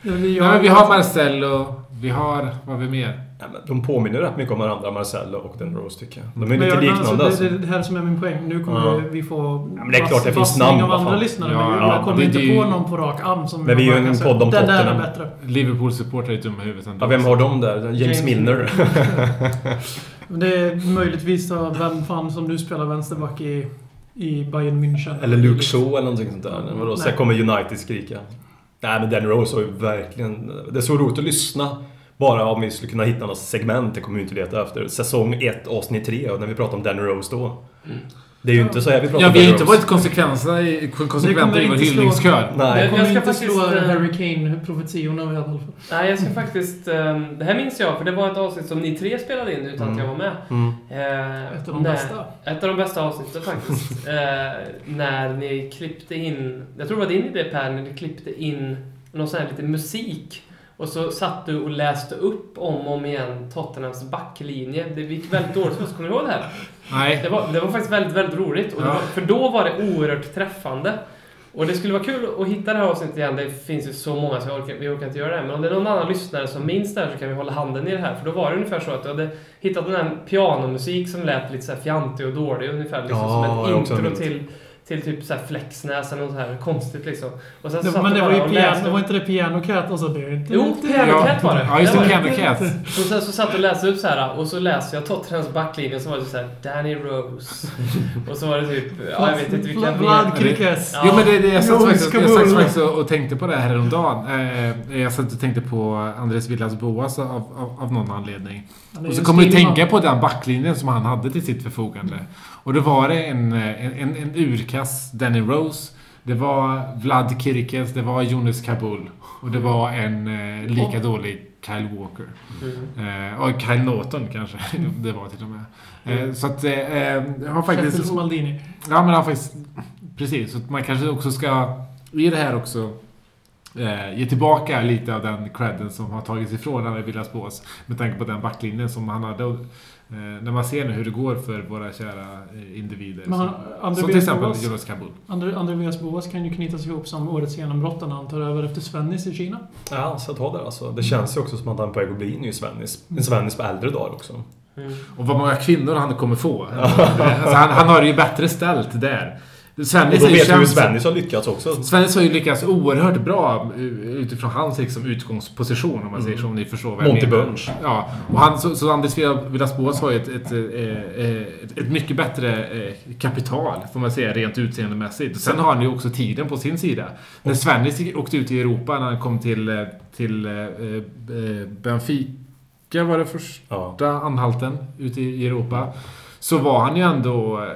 Speaker 4: Det är vi-
Speaker 5: Nej, men vi har Marcello, vi har... Vad har vi mer?
Speaker 6: Ja, men de påminner rätt mycket om varandra, Marcello och den Rose tycker jag. De är
Speaker 4: Men
Speaker 6: lite
Speaker 4: jag-
Speaker 6: liknande
Speaker 4: alltså,
Speaker 6: alltså.
Speaker 4: det, det är det här som är min poäng. Nu kommer
Speaker 6: Ja.
Speaker 4: vi- vi få ja,
Speaker 6: men det är klart det finns namn,
Speaker 4: av
Speaker 6: vad fan.
Speaker 4: andra lyssnare.
Speaker 5: Ja,
Speaker 4: men
Speaker 5: ja,
Speaker 4: jag kommer
Speaker 5: det-
Speaker 4: inte
Speaker 5: det är ju-
Speaker 4: på någon på rak arm som...
Speaker 6: Men vi är ju en
Speaker 4: kan säga,
Speaker 6: podd om
Speaker 4: Den där är
Speaker 6: Tottenham."
Speaker 4: bättre.
Speaker 5: Liverpool-supportrar är dumma i huvudet ändå.
Speaker 6: Ja, vem har de där? James,
Speaker 3: James
Speaker 6: Milner.
Speaker 4: Men Det är möjligtvis så vem fan som nu spelar vänsterback i, i Bayern München.
Speaker 6: eller Luke Shaw eller någonting sånt där.
Speaker 4: Mm,
Speaker 6: Vadå,
Speaker 4: nej.
Speaker 6: sen kommer United skrika. Nej, men Danny Rose har ju verkligen... Det är så roligt att lyssna. Bara om vi skulle kunna hitta något segment, det kommer vi inte leta efter. Säsong 1, avsnitt 3, och när vi pratar om Danny Rose då. Det är ju inte så här vi pratar
Speaker 5: Ja,
Speaker 6: om
Speaker 5: vi har
Speaker 6: Danny
Speaker 5: ju inte
Speaker 6: Rose.
Speaker 5: varit konsekventa i, konsekventa i
Speaker 4: kommer
Speaker 5: vår
Speaker 4: inte slå-
Speaker 5: hyllningskör.
Speaker 3: Jag
Speaker 4: Jag
Speaker 6: Nej.
Speaker 4: kommer
Speaker 3: ska
Speaker 4: inte
Speaker 3: faktiskt,
Speaker 4: slå
Speaker 3: eh,
Speaker 4: Harry Kane-profetiorna i alla fall.
Speaker 3: Nej, jag ska faktiskt... ehm, det här minns jag, för det var ett avsnitt som ni tre spelade in utan att jag var med.
Speaker 6: Mm.
Speaker 3: Eh,
Speaker 4: Ett av de
Speaker 3: när-
Speaker 4: bästa.
Speaker 3: Ett av de bästa avsnitten faktiskt. eh, när ni klippte in... Jag tror det var din idé Per, när ni klippte in någon sån här lite musik. Och så satt du och läste upp om och om igen Tottenhams backlinje. Det gick väldigt dåligt för oss, kommer du ihåg det här? Det
Speaker 5: Nej.
Speaker 3: var, det var faktiskt väldigt, väldigt roligt. Och det
Speaker 5: Ja.
Speaker 3: var, för då var det oerhört träffande. Och det skulle vara kul att hitta det här avsnittet igen. Det finns ju så många så jag orkar, vi orkar inte göra det. Men om det är någon annan lyssnare som minns det här så kan vi hålla handen i det här. För då var det ungefär så att du hade hittat den här pianomusik som lät lite så här fjantig och dålig. Ungefär liksom
Speaker 6: Ja, jag
Speaker 3: som
Speaker 6: har
Speaker 3: ett
Speaker 6: också
Speaker 3: intro
Speaker 6: hört.
Speaker 3: till, till typ så här Flexnäs eller något så här konstigt liksom. Och sen så
Speaker 4: Det,
Speaker 3: satt
Speaker 4: men
Speaker 3: du
Speaker 4: det var
Speaker 3: bara
Speaker 4: ju
Speaker 3: och
Speaker 4: piano,
Speaker 3: läste
Speaker 4: det var inte det Piano Cat och så? Det,
Speaker 3: Jo, Piano Cat var det.
Speaker 5: Ja, just
Speaker 3: Det var
Speaker 5: det.
Speaker 3: det.
Speaker 5: Candy Cat.
Speaker 3: Och sen så satt jag och läste upp så här och så läste jag Tottenhams backlinje som var det så här Danny Rose. [LAUGHS] Och så var det typ, ja jag vet inte vilka mer.
Speaker 4: Vlad Krikes.
Speaker 3: Ja.
Speaker 5: Jo men det, det, jag satt
Speaker 4: Jo,
Speaker 5: faktiskt,
Speaker 4: ska
Speaker 5: jag satt
Speaker 4: bulla.
Speaker 5: faktiskt och, och tänkte på det här häromdagen. Eh, jag satt och tänkte på Andres Villas Boas av, av, av någon anledning.
Speaker 4: Han är
Speaker 5: Och
Speaker 4: ju
Speaker 5: så
Speaker 4: en
Speaker 5: kom jag att
Speaker 4: skillnad.
Speaker 5: tänka på den backlinjen som han hade till sitt förfogande. Och då var det en, eh, en, en, en urkass Danny Rose. Det var Vlad Kirkes, det var Jonas Kabul. Och det var en eh, lika dålig Kyle Walker.
Speaker 3: Mm.
Speaker 5: Eh, och Kyle Norton kanske [LAUGHS] det var till och med. Eh, så att eh, eh, jag har faktiskt...
Speaker 4: Sheffield Maldini.
Speaker 5: Ja, men ja, faktiskt. Precis. Så att man kanske också ska, i det här också, eh, ge tillbaka lite av den credden som har tagits ifrån André Villas-Boas. Med tanke på den backlinjen som han hade. Och, eh, när man ser nu hur det går för våra kära eh, individer.
Speaker 4: Men han-
Speaker 5: som,
Speaker 4: André
Speaker 5: som till exempel
Speaker 4: Villas-Boas-
Speaker 5: Jonas Kabul.
Speaker 4: André- Andreas Boas kan ju knytas ihop som årets genombrott när han tar över efter Svennis i Kina.
Speaker 6: Ja, så ta där alltså. Det känns ju också som att han är på väg att bli en ny Svennis. En Svennis på äldre dagar också.
Speaker 3: Mm.
Speaker 5: Och vad många kvinnor han kommer få.
Speaker 6: [LAUGHS]
Speaker 5: alltså, han, han har det ju bättre ställt där.
Speaker 6: Och
Speaker 5: Svennis
Speaker 6: då
Speaker 5: är ju
Speaker 6: vet vi hur
Speaker 5: känd som-
Speaker 6: Svennis har lyckats också.
Speaker 5: Svennis har ju lyckats oerhört bra eh, utifrån hans liksom, utgångsposition om man
Speaker 6: Mm.
Speaker 5: säger så, om ni förstår vad jag
Speaker 6: Monty
Speaker 5: menar.
Speaker 6: Bunch.
Speaker 5: Ja, och han, så, så Anders Villas-Boas har ju ett, ett, eh, eh, ett, ett mycket bättre eh, kapital, får man säga, rent utseendemässigt. Och Sen har han ju också tiden på sin sida. När Svennis gick- åkte ut i Europa, när han kom till, eh, till eh, eh, Benfica, var det först?
Speaker 6: Ja.
Speaker 5: korta anhalten ute i Europa. Så var han ju ändå... eh,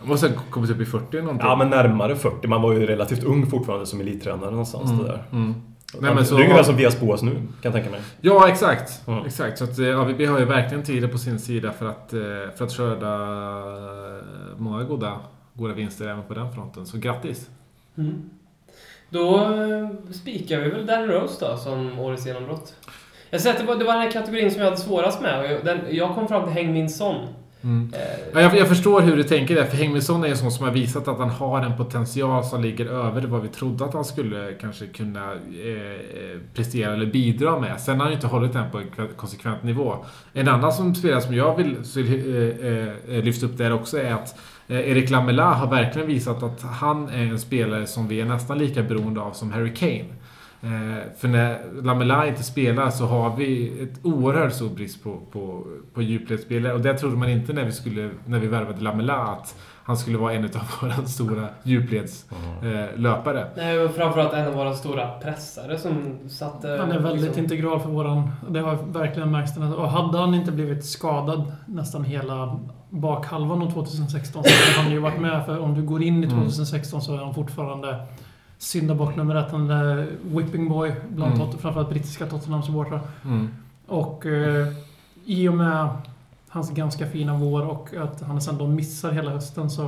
Speaker 5: Han måste ha kommit upp i 40 någonting.
Speaker 6: Ja, men närmare 40. Man var ju relativt ung fortfarande som elittränare någonstans det där.
Speaker 5: Mm.
Speaker 6: Nej, men så... Det är ungefär som Vias Boas nu, kan jag tänka mig.
Speaker 5: Ja, exakt.
Speaker 6: Mm.
Speaker 5: Exakt. Så att eh, AVB har ju verkligen tiden på sin sida för att, eh, för att skörda eh, många goda, goda vinster även på den fronten. Så grattis!
Speaker 3: Mm. Då eh, spikar vi väl Danny Rose då som årets genombrott. Jag säger att det var, det var den här kategorin som jag hade svårast med. Och jag, den, jag kom fram till Häng min son. Eh,
Speaker 5: Ja, jag, jag förstår hur du tänker där, för Hängmilsson är ju en sån som har visat att han har en potential som ligger över vad vi trodde att han skulle kanske kunna eh, prestera eller bidra med. Sen har han ju inte hållit den på en kva- konsekvent nivå. En annan som spelare som jag vill så vill, eh, eh, lyfta upp där också är att eh, Erik Lamela har verkligen visat att han är en spelare som vi är nästan lika beroende av som Harry Kane. Eh, för när Lamela inte spelar så har vi ett oerhört stor brist på, på, på djupledsspelare. Och det trodde man inte när vi, skulle, när vi värvade Lamela att han skulle vara en av [LAUGHS] våra stora Uh-huh. djupledslöpare.
Speaker 3: Nej, och framförallt en av våra stora pressare som satte...
Speaker 4: Han är väldigt
Speaker 3: liksom-
Speaker 4: integral för våran... Det har verkligen märkts. den här- Och hade han inte blivit skadad nästan hela bakhalvan av 2016 så hade han ju varit med. För om du går in i 2016 så är han fortfarande syndabock nummer ett. Han är där whipping boy bland
Speaker 5: Mm.
Speaker 4: Tot- framförallt brittiska Tottenham-supportrar.
Speaker 5: Mm.
Speaker 4: Och eh, i och med hans ganska fina vår och att han sen då missar hela hösten så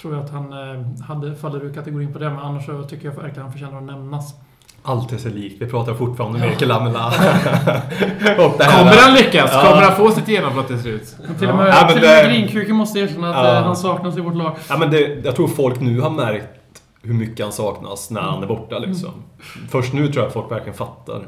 Speaker 4: tror jag att han eh, hade faller ur kategorin på det. Men annars så tycker jag verkligen han förtjänar att nämnas.
Speaker 6: Allt är sig likt. Vi pratar fortfarande om Erik Lamela. [LAUGHS] Och det här-
Speaker 5: Eh, Kommer han lyckas?
Speaker 6: Ja.
Speaker 5: Kommer han få sitt genombrott till slut?
Speaker 4: Men till och med,
Speaker 6: Ja, men
Speaker 4: till och med
Speaker 6: det-
Speaker 4: Grinkuken måste erkänna att
Speaker 6: Ja.
Speaker 4: eh, han saknas i vårt lag.
Speaker 6: Ja, men det, jag tror folk nu har märkt hur mycket han saknas när han är borta
Speaker 4: Mm.
Speaker 6: liksom. Först nu tror jag folk verkligen fattar.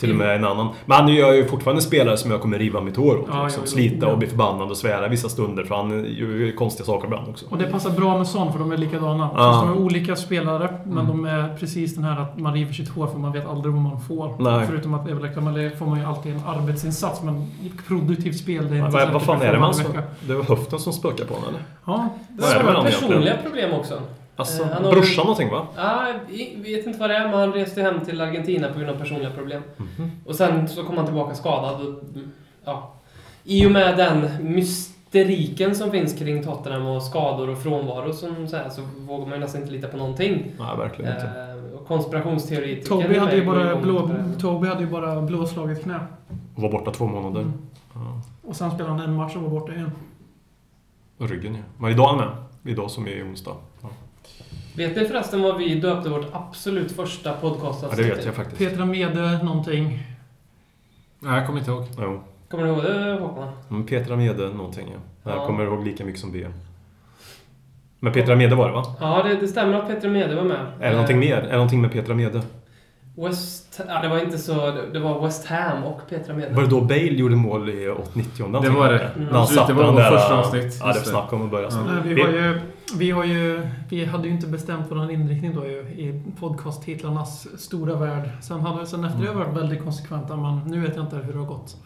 Speaker 6: Till och med en annan. Men han är ju fortfarande en spelare som jag kommer riva mitt hår åt.
Speaker 4: Ja,
Speaker 6: liksom.
Speaker 4: jo, jo.
Speaker 6: Slita
Speaker 4: Ja.
Speaker 6: och bli förbannad och svära vissa stunder. För han gör ju konstiga saker ibland också.
Speaker 4: Och det passar bra med sån för de är likadana.
Speaker 6: Ja. Mm.
Speaker 4: Fast De är olika spelare, men de är precis den här att man river sitt hår för man vet aldrig vad man får.
Speaker 6: Nej.
Speaker 4: Förutom att Evelyn Kamalé får man ju alltid en arbetsinsats, men produktivt spel det är
Speaker 6: Men
Speaker 4: inte
Speaker 6: Vad,
Speaker 4: säkert
Speaker 6: vad fan
Speaker 4: du
Speaker 6: är det
Speaker 4: får
Speaker 6: med han
Speaker 4: varje
Speaker 6: som-
Speaker 4: vecka. Eh,
Speaker 6: Det var höften som spökar på honom eller?
Speaker 4: Ja,
Speaker 6: Vad är det med honom
Speaker 3: personliga
Speaker 6: egentligen?
Speaker 3: problem också.
Speaker 6: Alltså,
Speaker 3: Eh, han har-
Speaker 6: brorsan någonting va?
Speaker 3: Ja, jag vet inte vad det är, men han reste hem till Argentina på grund av personliga problem.
Speaker 4: Mm.
Speaker 6: Mhm.
Speaker 3: Och sen så kom han tillbaka skadad. Och, ja. I och med den mysteriken som finns kring Tottenham och skador och frånvaro som så, här, så vågar man ju nästan inte lita på någonting.
Speaker 6: Nej, verkligen inte.
Speaker 3: Eh, och konspirationsteoretiker...
Speaker 4: Toby hade, ju
Speaker 3: går
Speaker 4: bara
Speaker 3: igång
Speaker 4: blå,
Speaker 3: på det.
Speaker 4: Toby hade ju bara blåslaget knä.
Speaker 6: Och var borta två månader.
Speaker 4: Mm.
Speaker 6: Ja.
Speaker 4: Och sen spelade han en match och var borta igen.
Speaker 6: Och ryggen ja. Men idag är han med. Idag som är onsdag. Ja.
Speaker 3: Vet ni förresten vad vi döpte vårt absolut första
Speaker 6: Ja, det
Speaker 3: podcastavsnitt
Speaker 6: vet
Speaker 3: till?
Speaker 6: jag faktiskt.
Speaker 4: Petra Mede någonting.
Speaker 5: Nej, jag kommer inte ihåg.
Speaker 6: Jo.
Speaker 3: Kommer ni ihåg det, Håkan?
Speaker 6: Men Petra Mede någonting ja.
Speaker 3: Ja.
Speaker 6: Jag kommer ihåg lika mycket som BM. Men Petra Mede var det va?
Speaker 3: Ja, det, det stämmer att Petter Mede var med. Eh,
Speaker 6: Är det någonting mer? Är det någonting med Petra Mede?
Speaker 3: West... Ja, det var inte så... Det var West Ham och Petra Mede.
Speaker 6: Var det då Bale gjorde mål i 89
Speaker 5: Det var det.
Speaker 6: När
Speaker 5: Mm.
Speaker 6: han satte
Speaker 5: Det var
Speaker 6: den
Speaker 5: vårt
Speaker 6: där...
Speaker 5: första avsnitt.
Speaker 6: Ja, det var
Speaker 5: Just det.
Speaker 6: snack om att
Speaker 5: [LAUGHS]
Speaker 6: börja snart.
Speaker 4: Nej, Eh, vi, har ju, vi, har ju, vi hade ju inte bestämt vår inriktning då ju, i podcasttitlarnas stora värld. Sen, hade, sen efter det
Speaker 3: Mm.
Speaker 4: har vi varit väldigt konsekventa, men nu vet jag inte hur det har gått.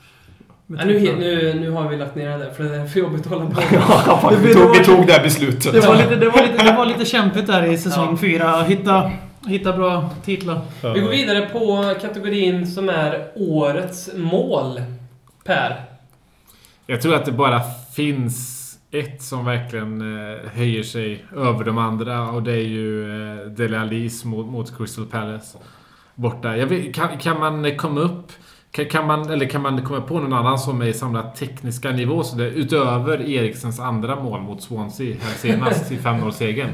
Speaker 4: Med
Speaker 3: Ja, nu,
Speaker 4: titlarna.
Speaker 3: nu, nu har vi lagt ner det där, för det är för jobbigt att hålla på.
Speaker 6: Ja, fan, vi, tog, vi tog det här beslutet.
Speaker 4: det, var lite, det, var lite, det var lite kämpigt där i säsong fyra. Hitta, hitta bra titlar.
Speaker 3: Vi går vidare på kategorin som är Årets mål. Per.
Speaker 5: Jag tror att det bara finns ett som verkligen eh, höjer sig över de andra och det är ju eh, Dele Allis mot, mot Crystal Palace. Borta. Jag vet, kan, kan man eh, komma upp... Kan, kan man, eller kan man komma på någon annan som är i samma tekniska nivå så det, utöver Eriksens andra mål mot Swansea här senast i
Speaker 6: [LAUGHS]
Speaker 5: 5-0-segern?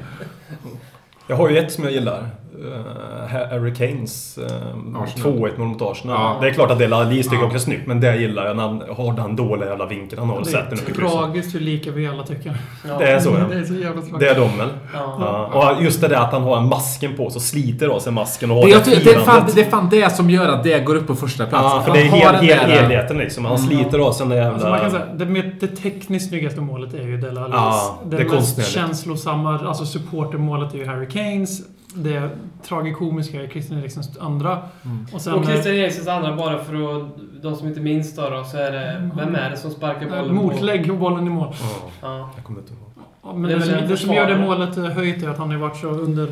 Speaker 6: Jag har ju ett som jag gillar. Eh, Harry Kanes eh,
Speaker 5: Arsenal.
Speaker 6: 2-1 mål mot Arsenal.
Speaker 5: Ja.
Speaker 6: Det är klart att Dele Alli tycker
Speaker 5: Ja.
Speaker 6: också är snyggt, men det gillar jag när han har den dåliga jävla vinkeln han har och
Speaker 4: Det
Speaker 6: sätter den
Speaker 4: är
Speaker 6: upp i krysset.
Speaker 4: tragiskt hur lika vi alla tycker.
Speaker 3: Ja.
Speaker 6: Det är så ja.
Speaker 4: [LAUGHS] Det är så jävla tragiskt.
Speaker 6: Det är de väl?
Speaker 3: Ja.
Speaker 6: Ja. Och just det där att han har en masken på sig och sliter av sig masken och har
Speaker 5: Det, jag, tycker- det, är fan,
Speaker 6: firandet.
Speaker 5: det är fan det som gör att det går upp på första plats.
Speaker 6: Ja,
Speaker 5: Att
Speaker 6: för
Speaker 5: han
Speaker 6: det är
Speaker 5: har den
Speaker 6: hel,
Speaker 5: där-
Speaker 6: hel, helheten liksom. Han sliter av sig den där
Speaker 4: Alltså man kan
Speaker 6: jävla...
Speaker 4: säga, det, med, det tekniskt snyggaste målet är ju Dele Allis.
Speaker 6: Ja, det
Speaker 4: det
Speaker 6: är
Speaker 4: mest
Speaker 6: konstnärligt.
Speaker 4: känslosamma, alltså supportermålet är ju Harry Kanes. Det tragikomiska är Christian Eriksens andra.
Speaker 6: Mm.
Speaker 4: Och sen
Speaker 3: Och
Speaker 4: eh,
Speaker 3: Christer Eriksens andra, bara för att, de som inte minns då, då så är det... Vem är det som sparkar bollen på...
Speaker 4: eh, motlägg och bollen i mål.
Speaker 6: Ja,
Speaker 3: Ja.
Speaker 6: jag kommer inte ihåg.
Speaker 4: Ja, Men
Speaker 3: Det är
Speaker 4: det,
Speaker 3: väl en
Speaker 4: som, det som gör det
Speaker 3: försvarare.
Speaker 4: målet eh, höjt är att han har varit så under,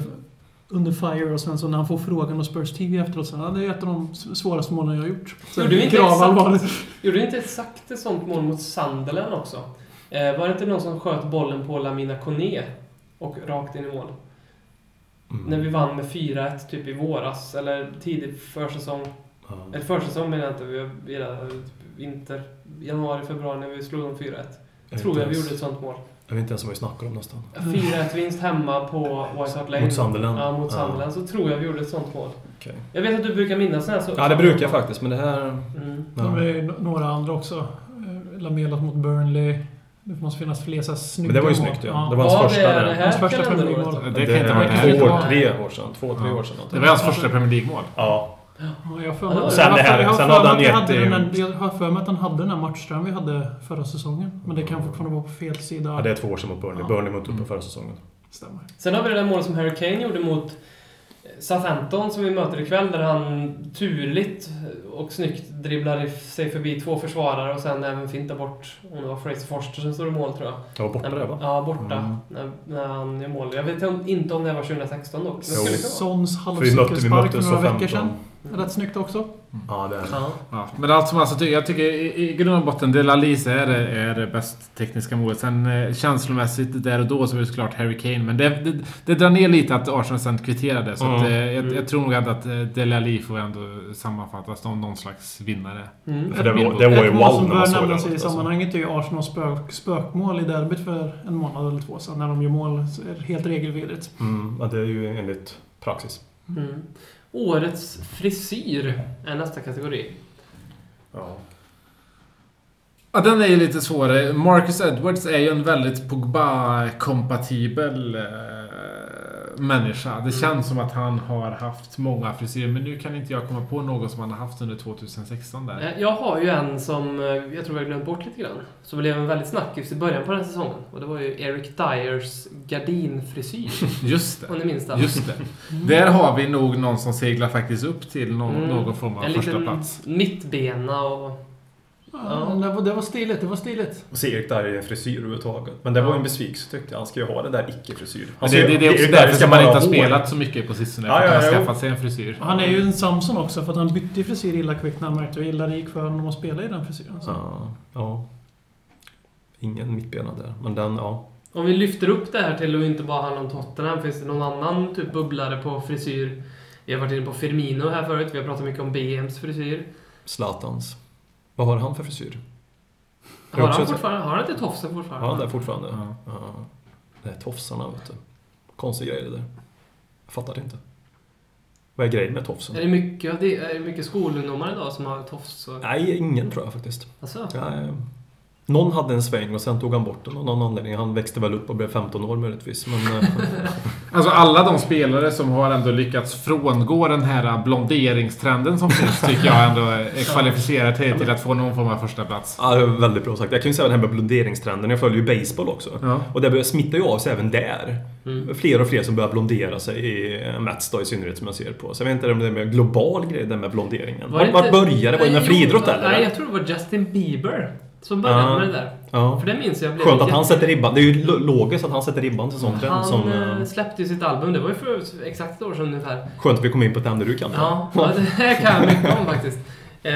Speaker 4: under fire och sen så när han får frågan av Spurs TV efteråt så ja, det är ett av de s- svåraste målen jag har gjort. Så
Speaker 3: Gjorde vi inte
Speaker 4: gravallvarligt.
Speaker 3: Gjorde inte exakt ett sånt mål mot Sunderland också? Eh, var det inte någon som sköt bollen på Lamina Kone och rakt in i mål?
Speaker 6: Mm.
Speaker 3: När vi vann med 4-1 typ i våras, eller tidig försäsong.
Speaker 6: Ja.
Speaker 3: Eller försäsong menar jag inte, vi vi gillade vinter, januari, februari när vi slog dem 4-1.
Speaker 6: Jag
Speaker 3: Tror
Speaker 6: vet
Speaker 3: jag vi gjorde
Speaker 6: inte
Speaker 3: ett
Speaker 6: ens-
Speaker 3: sånt mål.
Speaker 6: Jag vet inte ens vad vi snackar om nästan.
Speaker 3: 4-1 vinst hemma på White Hart Lane.
Speaker 6: Mot Sunderland.
Speaker 3: Ja, mot
Speaker 6: Ja.
Speaker 3: Sunderland. Så tror jag vi gjorde ett sånt mål.
Speaker 6: Okej.
Speaker 3: Jag vet att du brukar minnas den här så...
Speaker 6: Ja, det brukar jag faktiskt, men det här...
Speaker 3: Mm.
Speaker 4: De är
Speaker 6: Ja.
Speaker 4: ju några andra också. Eh, Lamelat mot Burnley. Det måste finnas fler så här snygga
Speaker 6: Men det var ju
Speaker 4: mål.
Speaker 6: snyggt ja. Det
Speaker 3: Var
Speaker 6: var hans
Speaker 3: det
Speaker 6: första
Speaker 3: det
Speaker 6: där.
Speaker 3: här
Speaker 4: Hans första
Speaker 3: kalenderåret?
Speaker 4: Premier League-mål.
Speaker 5: Det kan inte
Speaker 6: är
Speaker 5: vara det här.
Speaker 4: inte
Speaker 6: två,
Speaker 4: vara-
Speaker 6: tre år sedan. Två, tre år
Speaker 5: Det
Speaker 6: sedan. någonting.
Speaker 5: var hans första Premier League-mål.
Speaker 6: Ja.
Speaker 4: Ja, jag har för
Speaker 3: Ja, det
Speaker 4: mig-
Speaker 3: var det.
Speaker 4: jag
Speaker 6: Sen
Speaker 4: har
Speaker 6: det här-
Speaker 4: för- jag har
Speaker 6: sen
Speaker 4: för
Speaker 6: hade
Speaker 4: mig att
Speaker 6: han
Speaker 4: vi
Speaker 6: gett,
Speaker 4: hade
Speaker 6: eh,
Speaker 4: den här- Jag har för mig att han hade den här matchström vi hade förra säsongen. Men det kan fortfarande vara på fel sida.
Speaker 6: Mm. ja, det är två år sedan mot Burnley.
Speaker 4: Ja.
Speaker 6: Burnley mot uppe förra säsongen.
Speaker 4: Stämmer.
Speaker 3: Sen har vi det där målet som Harry Kane gjorde mot Southampton som vi möter ikväll där han turligt och snyggt dribblar i- sig förbi två försvarare och sen även fintar bort, om det var Fraser Forster som står i mål tror jag.
Speaker 6: Jag var borta där va?
Speaker 3: Ja, borta.
Speaker 5: Mm.
Speaker 3: När, när han gör mål. Jag vet om- inte om det var 2016 dock. Men det
Speaker 6: Jo.
Speaker 3: skulle kunna vara.
Speaker 4: Sons
Speaker 6: För vi mötte, vi
Speaker 4: halvcykelspark
Speaker 6: mötte
Speaker 4: för några veckor
Speaker 6: 15.
Speaker 4: sedan. Rätt snyggt också.
Speaker 6: Ja, det är
Speaker 3: Ja.
Speaker 5: Ja, men allt som alltså, ty- jag tycker i, i grund och botten, Dela Lise är, det- är det bäst tekniska målet. Sen eh, känslomässigt där och då så är det såklart Harry Kane. Men det, det, det drar ner lite att Arsenal sen kvitterade. Så att,
Speaker 6: Mm.
Speaker 5: eh, jag, jag tror nog ändå att eh, Dela Lise får ändå sammanfattas som någon slags vinnare.
Speaker 3: Mm.
Speaker 6: För det var, det var ju
Speaker 4: Ett mål
Speaker 6: wow
Speaker 4: som
Speaker 6: när man
Speaker 4: bör
Speaker 6: såg det.
Speaker 4: nämnas i
Speaker 6: Alltså.
Speaker 4: sammanhanget är ju Arsenals spök, spökmål i derbyt för en månad eller två sedan. När de gör mål så är det helt regelvidrigt.
Speaker 6: Mm, ja, det är ju enligt praxis.
Speaker 3: Mm. Årets frisyr är nästa kategori.
Speaker 5: Ja, den är ju lite svårare. Marcus Edwards är ju en väldigt Pogba-kompatibel eh, människa.
Speaker 6: Mm.
Speaker 5: Det känns som att han har haft många frisyrer, men nu kan inte jag komma på någon som han har haft under 2016 där.
Speaker 3: Eh, Jag har ju en som eh, jag tror jag glömt bort lite grann. Som blev en väldigt snackis i början på den här säsongen. Och det var ju Eric Dyers
Speaker 5: [LAUGHS]
Speaker 3: gardinfrisyr.
Speaker 5: Just det.
Speaker 3: om ni minns den.
Speaker 5: Just det. Där har vi nog någon som seglar faktiskt upp till någon,
Speaker 3: Mm.
Speaker 5: någon form av
Speaker 3: en
Speaker 5: första
Speaker 3: liten
Speaker 5: plats.
Speaker 3: mittbena och...
Speaker 4: Ja. Det, var, det var stiligt, det var stiligt.
Speaker 6: Och se Erik där i en frisyr överhuvudtaget. Men det var
Speaker 3: Ja.
Speaker 6: ju en besvikelse tyckte jag. Han ska ju ha den där icke-frisyr.
Speaker 5: Men
Speaker 6: Han
Speaker 5: det,
Speaker 6: ska-
Speaker 5: det, det är också
Speaker 6: Erik
Speaker 5: därför
Speaker 6: Dyer
Speaker 5: som man
Speaker 6: bara
Speaker 5: inte har
Speaker 6: ha hår.
Speaker 5: spelat så mycket på sistone.
Speaker 6: Ja,
Speaker 5: för att
Speaker 6: ja,
Speaker 5: han har
Speaker 6: ja, jo.
Speaker 5: skaffat sig en frisyr.
Speaker 4: Han är ju en Samson också för att han bytte frisyr illa kvickt när han märkte hur illa det gick för honom att spela i den frisyren. Så.
Speaker 6: Ja, ja. Ingen mittbena där. Men den, ja.
Speaker 3: Om vi lyfter upp det här till att inte bara handla om Tottenham, finns det någon annan typ bubblare på frisyr? Vi har varit inne på Firmino här förut, vi har pratat mycket om BMs frisyr.
Speaker 6: Zlatans. Vad har han för frisyr? Jag
Speaker 3: Har
Speaker 6: också
Speaker 3: han
Speaker 6: sett-
Speaker 3: fortfarande, har han inte tofsen fortfarande?
Speaker 6: Har han det fortfarande?
Speaker 5: Ja.
Speaker 6: Ja. Det är tofsarna, vet du. Konstig grej det där. Jag fattar det inte. Vad är grejen med tofsen?
Speaker 3: Är det mycket, av det, är det mycket skolungdomar idag som har tofs? Och,
Speaker 6: Nej, ingen tror jag faktiskt.
Speaker 3: alltså,
Speaker 6: Nej. Någon hade en sväng och sen tog han bort den av någon anledning. Han växte väl upp och blev 15 år möjligtvis. Men, eh,
Speaker 5: Alltså alla de spelare som har ändå lyckats frångå den här blonderingstrenden som finns tycker jag ändå är kvalificerar till, till att få någon form av första plats.
Speaker 6: ja, det var väldigt bra sagt. Jag kan ju säga det här med blonderingstrenden. Jag följer ju baseball också.
Speaker 5: Ja.
Speaker 6: Och det börjar- smittar ju av sig även där.
Speaker 3: Mm.
Speaker 6: Fler och fler som börjar blondera sig i eh, Mets då i synnerhet som jag ser på. Så jag vet inte om det är en global grej det med blonderingen. Var,
Speaker 3: det
Speaker 6: var
Speaker 3: inte-
Speaker 6: började det? Var det inom
Speaker 3: Nej,
Speaker 6: friidrott
Speaker 3: jo,
Speaker 6: eller?
Speaker 3: Nej, jag tror det var Justin Bieber som började
Speaker 6: Ja.
Speaker 3: med det där.
Speaker 6: Ja.
Speaker 3: För det minns jag. blev
Speaker 6: Skönt att han
Speaker 3: jätte-
Speaker 6: sätter ribban. Det är ju lo- logiskt att han sätter ribban till sånt trend
Speaker 3: Han
Speaker 6: som...
Speaker 3: eh,
Speaker 6: eh,
Speaker 3: släppte ju sitt album, det var ju för exakt ett år sedan ungefär.
Speaker 6: Skönt att vi kom in på ett ämne du kan.
Speaker 3: Ja, ja det här kan jag mycket om faktiskt. Eh,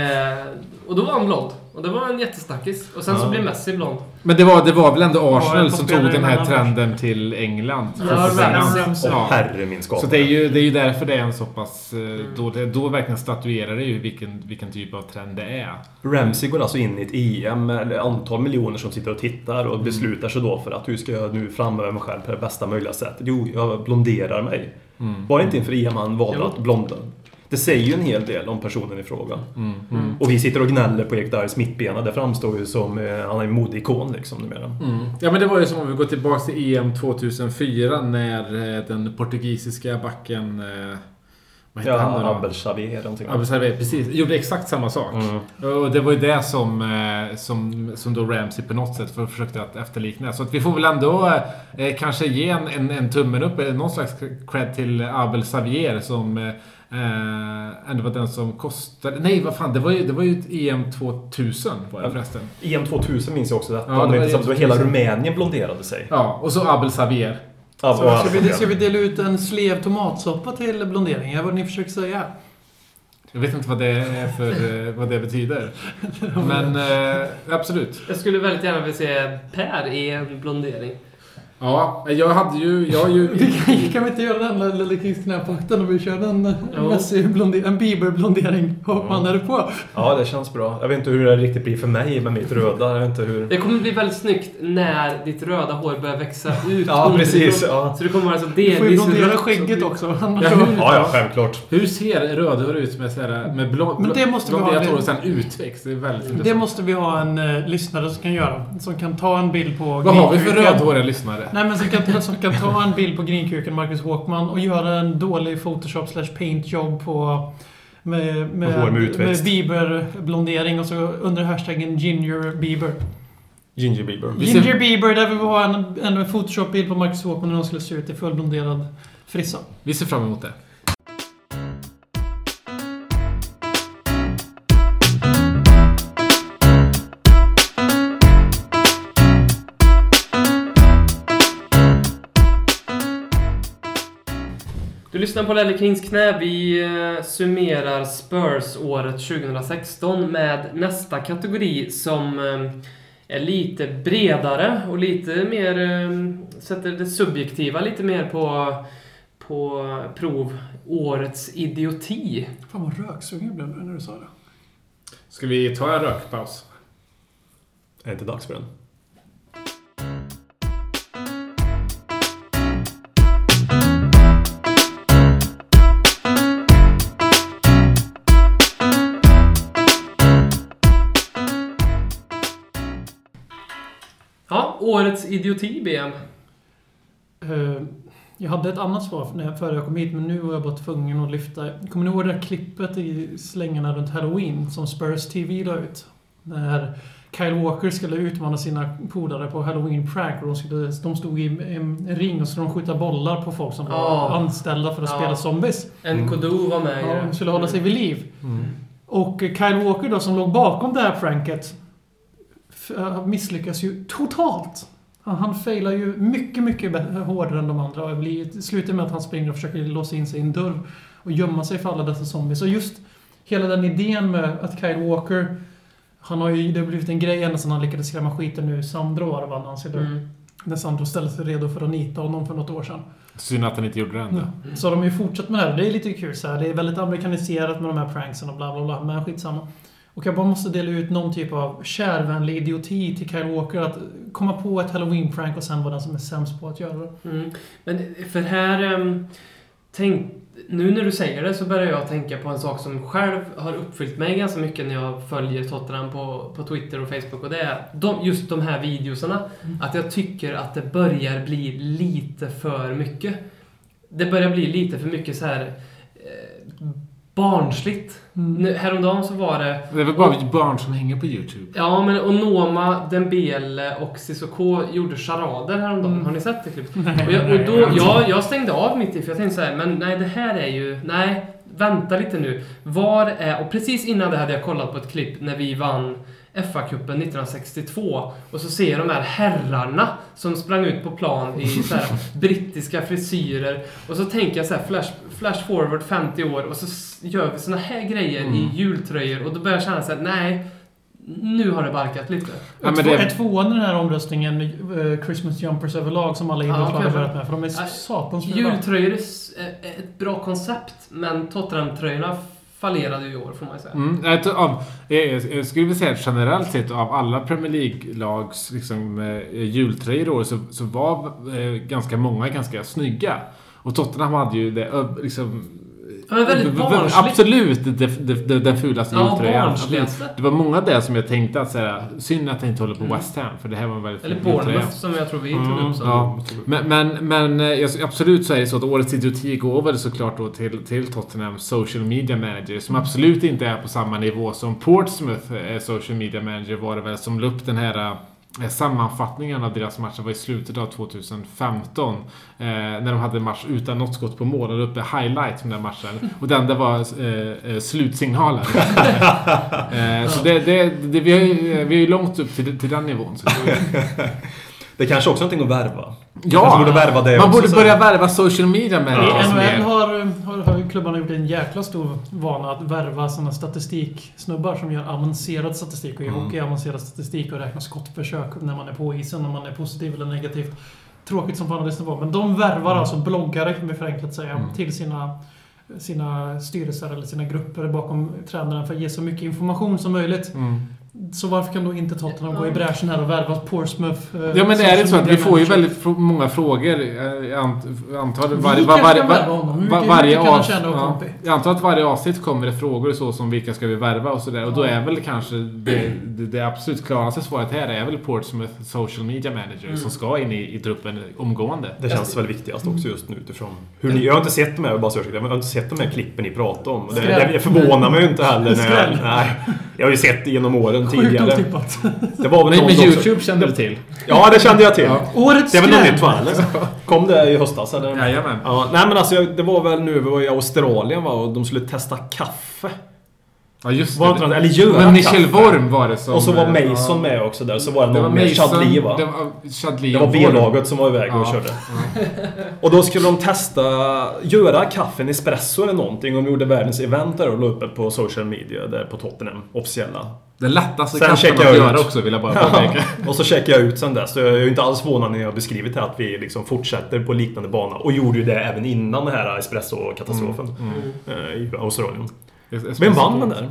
Speaker 3: och då var han blond. Och det var en jättesnackis. Och sen så
Speaker 6: Ja.
Speaker 3: blev Messi blond.
Speaker 5: Men det var, det var väl ändå
Speaker 4: Ja,
Speaker 5: Arsenal
Speaker 4: jag
Speaker 5: som
Speaker 4: spelar
Speaker 5: tog
Speaker 4: i
Speaker 5: den här
Speaker 4: Manchester.
Speaker 5: trenden till England.
Speaker 3: Ja,
Speaker 5: För att säga.
Speaker 3: Ramsey.
Speaker 4: Ramsey.
Speaker 5: Ja.
Speaker 6: Herre min skapare.
Speaker 5: Så det är, ju, det är ju därför det är en så pass... eh, Då, det, då verkligen statuerar det ju vilken, vilken typ av trend det är.
Speaker 6: Ramsey går alltså in i ett EM med ett antal miljoner som sitter och tittar
Speaker 5: Mm.
Speaker 6: och beslutar sig då för att hur ska jag nu framöver mig själv på det bästa möjliga sättet? Jo, jag blonderar mig.
Speaker 5: Mm.
Speaker 6: Var det inte inför EM han valde
Speaker 3: Jo.
Speaker 6: att blonda? Det säger ju en hel del om personen i fråga.
Speaker 5: Mm,
Speaker 6: Och vi sitter och gnäller på Erik Dyers mittbena. Det framstår ju som... eh, Han är en modeikon liksom numera.
Speaker 5: Mm. Ja men det var ju som om vi går tillbaks till EM 2004 när eh, den portugisiska backen... eh, Vad hette
Speaker 6: Ja,
Speaker 5: han nu då?
Speaker 6: Abel Xavier eller någonting.
Speaker 5: Abel Sarve, precis. Mm. Gjorde exakt samma sak. Och det var ju det som, eh, som, som då Ramsey på något sätt för- försökte att efterlikna. Så att vi får väl ändå eh, kanske ge en, en, en tummen upp, eller någon slags cred till Abel Xavier som eh, eh, ändå var den som kostade... Nej, vad fan, det var ju, det var ju ett EM 2000 var det förresten.
Speaker 6: EM 2000 E minns jag också detta.
Speaker 5: Ja, det
Speaker 6: Om det
Speaker 5: var
Speaker 6: inte
Speaker 5: EM
Speaker 6: sant, så hela
Speaker 5: 2000.
Speaker 6: Rumänien blonderade sig.
Speaker 5: Ja, och så Abel Xavier.
Speaker 6: Ja, och-
Speaker 4: Så ska, vi, ska vi dela ut en slev tomatsoppa till blonderingen? Det var det ni försökte säga.
Speaker 5: Jag vet inte vad det, är [LAUGHS] för, eh, vad det betyder. Men eh, absolut.
Speaker 3: Jag skulle väldigt gärna vilja se Per i en blondering.
Speaker 5: Ja, jag hade ju... Jag har ju [LAUGHS]
Speaker 4: Vi kan, kan vi inte göra den där Lille Kings knäpakten och vi kör en,
Speaker 3: Jo.
Speaker 4: Messi-blondering- en Bieber-blondering? Hoppman är på.
Speaker 6: Ja, det känns bra. Jag vet inte hur det riktigt blir för mig med mitt röda. Jag vet inte hur...
Speaker 3: Det kommer bli väldigt snyggt när ditt röda hår börjar växa ut.
Speaker 6: [LAUGHS] Ja, precis.
Speaker 3: underifrån.
Speaker 6: Ja,
Speaker 3: Så du kommer vara så
Speaker 4: Du får ju
Speaker 3: delvis
Speaker 4: blondera
Speaker 3: rött.
Speaker 4: skägget också. annars
Speaker 5: Ja.
Speaker 4: så-
Speaker 6: ja, ja självklart.
Speaker 5: Hur ser rödhår ut med, såhär, med blå,
Speaker 4: Men det måste vi ha.
Speaker 5: blonderat hår och sen utväxt? Det är väldigt
Speaker 4: Det
Speaker 5: intressant.
Speaker 4: måste vi ha en eh, lyssnare som kan göra. Som kan ta en bild på...
Speaker 5: Vad har vi för
Speaker 4: greenkuken.
Speaker 5: rödhåriga lyssnare?
Speaker 4: Nej men som kan, som kan ta en bild på grinkuken Marcus Håkman och göra en dålig photoshop slash paintjobb på... Med, med,
Speaker 6: Hår med
Speaker 4: med
Speaker 6: utväxt.
Speaker 4: Bieber-blondering och så under hashtaggen Ginger Bieber.
Speaker 6: Ginger Bieber.
Speaker 5: Vi
Speaker 4: Ginger
Speaker 5: ser-
Speaker 4: Bieber, där vi vill ha en, en Photoshop-bild på Marcus Håkman när han skulle se ut i fullblonderad frissa.
Speaker 5: Vi ser fram emot det.
Speaker 3: Du lyssnar på Lelle Kings knä. Vi eh, summerar Spurs-året 2016 med nästa kategori som eh, är lite bredare och lite mer... eh, Sätter det subjektiva lite mer på, på prov. Årets idioti.
Speaker 4: Fan vad röksugen jag blev när du sa det.
Speaker 5: Ska vi ta en rökpaus?
Speaker 6: Är det inte dags för den?
Speaker 3: Ja, årets idioti, BM.
Speaker 4: Eh, Jag hade ett annat svar när jag- före jag kom hit, men nu var jag bara tvungen att lyfta. Kommer ni ihåg det där klippet i slängarna runt Halloween som Spurs TV la ut? När Kyle Walker skulle utmana sina polare på Halloween prank och de, skulle, de stod i en ring och så skulle de skjuta bollar på folk som var
Speaker 3: Ja.
Speaker 4: anställda för att
Speaker 3: Ja.
Speaker 4: spela zombies.
Speaker 3: Nkodu var med i
Speaker 4: Ja, de
Speaker 3: det.
Speaker 4: skulle hålla sig vid liv.
Speaker 5: Mm.
Speaker 4: Och Kyle Walker då, som låg bakom det här pranket, f- eh, misslyckas ju totalt. Han, han failar ju mycket, mycket bä- hårdare än de andra. Och blir, det slutar med att han springer och försöker låsa in sig i en dörr och gömma sig för alla dessa zombies. Och just hela den idén med att Kyle Walker, han har ju, det har blivit en grej ända sedan han lyckades skrämma skiten ur Sandro, var det va, när han skulle-
Speaker 3: Mm.
Speaker 4: när Sandro ställde sig redo för att nita honom för något år sedan.
Speaker 5: Synd att han inte gjorde det ändå.
Speaker 4: Så de har ju fortsatt med det här. Det är lite kul så här. Det är väldigt amerikaniserat med de här pranksen och bla bla bla. Men skitsamma. Och jag bara måste dela ut någon typ av kärvänlig idioti till Kyle Walker. Att komma på ett halloween-prank och sen vara den som är sämst på att göra det.
Speaker 3: Mm. Men för här... ehm, Tänk, nu när du säger det så börjar jag tänka på en sak som själv har uppfyllt mig ganska mycket när jag följer Tottenham på, på Twitter och Facebook. Och det är de, just de här videosarna. Att jag tycker att det börjar bli lite för mycket. Det börjar bli lite för mycket så här eh, barnsligt. Nu, häromdagen så var det
Speaker 5: Det är väl bara barn som hänger på YouTube?
Speaker 3: Ja, men Onoma, Dembele och Sissoko gjorde charader häromdagen. Har ni sett det klippet? och jag, och då, jag, jag stängde av mitt i, för jag tänkte så här, men nej, det här är ju... Nej, vänta lite nu. Var är... Och precis innan det hade jag kollat på ett klipp när vi vann FA-cupen 1962 och så ser jag de här herrarna som sprang ut på plan
Speaker 5: [LAUGHS]
Speaker 3: i så här brittiska frisyrer och så tänker jag så här flash, flash forward 50 år och så s- gör vi såna här grejer i
Speaker 5: Mm.
Speaker 3: jultröjor och då börjar jag känna så här, nej, nu har det barkat lite.
Speaker 5: Ja, men
Speaker 4: Två,
Speaker 5: det-
Speaker 4: Är tvåan i den här omröstningen eh, Christmas jumpers överlag som alla idrottslag har
Speaker 3: kanske.
Speaker 4: börjat med? För de är
Speaker 3: Nej,
Speaker 4: satans bra.
Speaker 3: Jultröjor är s- är är ett bra koncept, men Tottenham-tröjorna fallerade ju i år, får man ju säga.
Speaker 5: Mm, jag, tror- av, jag, jag jag skulle vilja säga att generellt sett av alla Premier League-lags liksom, eh, jultröjor i år så, så var eh, ganska många ganska snygga. Och Tottenham hade ju det ö- liksom...
Speaker 3: Ja, men väldigt
Speaker 5: v- v-
Speaker 3: barnsligt.
Speaker 5: Absolut det, det, det, den fulaste
Speaker 3: Ja,
Speaker 5: jultröjan.
Speaker 3: barnsligaste.
Speaker 5: Det var många där som jag tänkte att såhär, synd att jag inte håller på West Ham, för det här var en väldigt
Speaker 3: Eller
Speaker 5: fin jultröja.
Speaker 3: Bournemouth, som jag tror vi tog upp. som-
Speaker 5: Mm, Ja, men, men, men eh, jag- absolut så är det så att årets idioti går väl såklart då till, till Tottenhams social media manager som absolut inte är på samma nivå som Portsmouth eh, social media manager var det väl som la upp den här eh, sammanfattningen av deras match. Det var i slutet av 2015. Eh, när de hade en match utan något skott på mål. De la upp en highlight från den matchen. Och den där var eh, eh, slutsignalen. eh, så det, det, det, vi, är ju, eh, vi är ju långt upp till, till den nivån. Så
Speaker 6: Det kanske också är någonting att värva.
Speaker 5: Ja!
Speaker 6: Kanske borde värva det
Speaker 5: man
Speaker 6: också,
Speaker 5: borde
Speaker 6: så-
Speaker 5: börja värva social media managers.
Speaker 4: I
Speaker 5: som
Speaker 4: NHL
Speaker 5: är-
Speaker 4: har, har, har ju klubbarna gjort en jäkla stor vana att värva såna statistiksnubbar som gör avancerad statistik och i
Speaker 5: Mm.
Speaker 4: hockey avancerad statistik och räknar skottförsök när man är på isen, om man är positiv eller negativt. Tråkigt som fan att lyssna på. Men de
Speaker 5: Mm.
Speaker 4: värvar alltså bloggare, kan vi förenklat säga, till sina sina styrelser eller sina grupper bakom tränaren för att ge så mycket information som möjligt.
Speaker 6: Mm.
Speaker 4: Så varför kan då inte Tottenham gå i bräschen här och värva Portsmouth? eh,
Speaker 5: Ja men det är
Speaker 4: social
Speaker 5: det så att vi
Speaker 4: media
Speaker 5: får ju
Speaker 4: manager?
Speaker 5: väldigt fr- många frågor. eh, Jag ant- antar det varje,
Speaker 4: Vi
Speaker 5: var,
Speaker 4: kanske
Speaker 5: varje,
Speaker 4: kan
Speaker 5: var,
Speaker 4: värva honom. Hur
Speaker 5: var,
Speaker 4: mycket-
Speaker 5: varje
Speaker 4: hur mycket kan han
Speaker 5: avs-
Speaker 4: tjäna då,
Speaker 5: ja.
Speaker 4: Tompi?
Speaker 5: Jag antar att varje avsnitt kommer det frågor så som vilka ska vi värva och sådär. Och då är väl kanske det, det, det absolut klaraste svaret här är väl Portsmouth Social Media Manager
Speaker 4: Mm.
Speaker 5: som ska in i, i truppen omgående.
Speaker 6: Det känns väl viktigast också just nu utifrån hur ni... Jag har inte sett de här, jag bara söker, jag har inte sett de här klippen ni pratar om. Det, det, det förvånar mig ju inte heller. När
Speaker 4: Skräll.
Speaker 6: jag, nej, jag har ju sett det genom åren
Speaker 4: Sjukt
Speaker 6: tidigare.
Speaker 4: otippat.
Speaker 6: Det var väl
Speaker 5: Nej, men
Speaker 6: något också-
Speaker 5: YouTube kände du till?
Speaker 6: Ja, det kände jag till.
Speaker 4: Årets
Speaker 6: Det är väl något
Speaker 4: skräll.
Speaker 6: nytt va? eller? Kom det i höstas eller?
Speaker 5: Jajamän.
Speaker 6: Ja, nej men alltså jag- det var väl nu, vi var i Australien va, och de skulle testa kaffe.
Speaker 5: Ja, just
Speaker 6: Var det inte
Speaker 5: det.
Speaker 6: något, eller Göran
Speaker 5: Men Michel
Speaker 6: Kaffer.
Speaker 5: Worm var det som...
Speaker 6: Och så var
Speaker 5: eh,
Speaker 6: Mason med också där, så var det,
Speaker 5: Det var
Speaker 6: någon mer Chadli va?
Speaker 5: Det var Chadli
Speaker 6: Det var
Speaker 5: och Worm.
Speaker 6: B-laget som var iväg och
Speaker 5: Ja.
Speaker 6: körde. Och då skulle de testa, göra kaffen espresso eller någonting. Och de gjorde världens event där och la upp det på social media där på Tottenham, officiella.
Speaker 5: Den lättaste
Speaker 6: Sen
Speaker 5: kasten
Speaker 6: checkar
Speaker 5: att
Speaker 6: jag
Speaker 5: göra
Speaker 6: ut.
Speaker 5: också vill
Speaker 6: [LAUGHS]
Speaker 5: jag bara påpeka.
Speaker 6: och så checkade jag ut sen dess. Så jag är ju inte alls förvånad när jag har beskrivit det att vi liksom fortsätter på liknande bana. Och gjorde ju det även innan den här espresso-katastrofen
Speaker 5: Mm,
Speaker 6: eh, i Australien. Vem vann den där?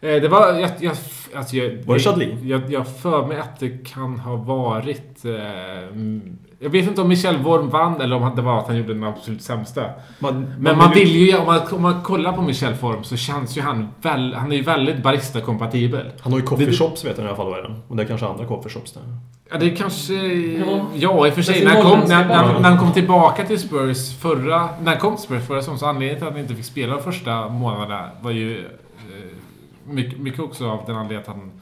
Speaker 5: Eh, Det var... Jag, jag, alltså jag,
Speaker 6: Var det Chadli?
Speaker 5: Jag, jag för mig att det kan ha varit... Eh, mm, jag vet inte om Michel Worm vann eller om det var att han gjorde den absolut sämsta.
Speaker 6: Man,
Speaker 5: Men man vill ju... Om man, om man kollar på Michel Form så känns ju han väl... Han är ju väldigt barista-kompatibel.
Speaker 6: Han har ju coffee shops vet jag i alla fall vad är det. Och det är kanske andra coffee shops där.
Speaker 5: Ja, det kanske...
Speaker 3: Ja.
Speaker 5: Ja, i och för sig.
Speaker 3: sin
Speaker 5: När han, kom,
Speaker 3: holländska
Speaker 5: när, när,
Speaker 3: bakgrund.
Speaker 5: när han kom tillbaka till Spurs förra... När han kom till Spurs förra säsongen, så anledningen till att han inte fick spela de första månaderna var ju... Eh, mycket, mycket också av den anledningen att han...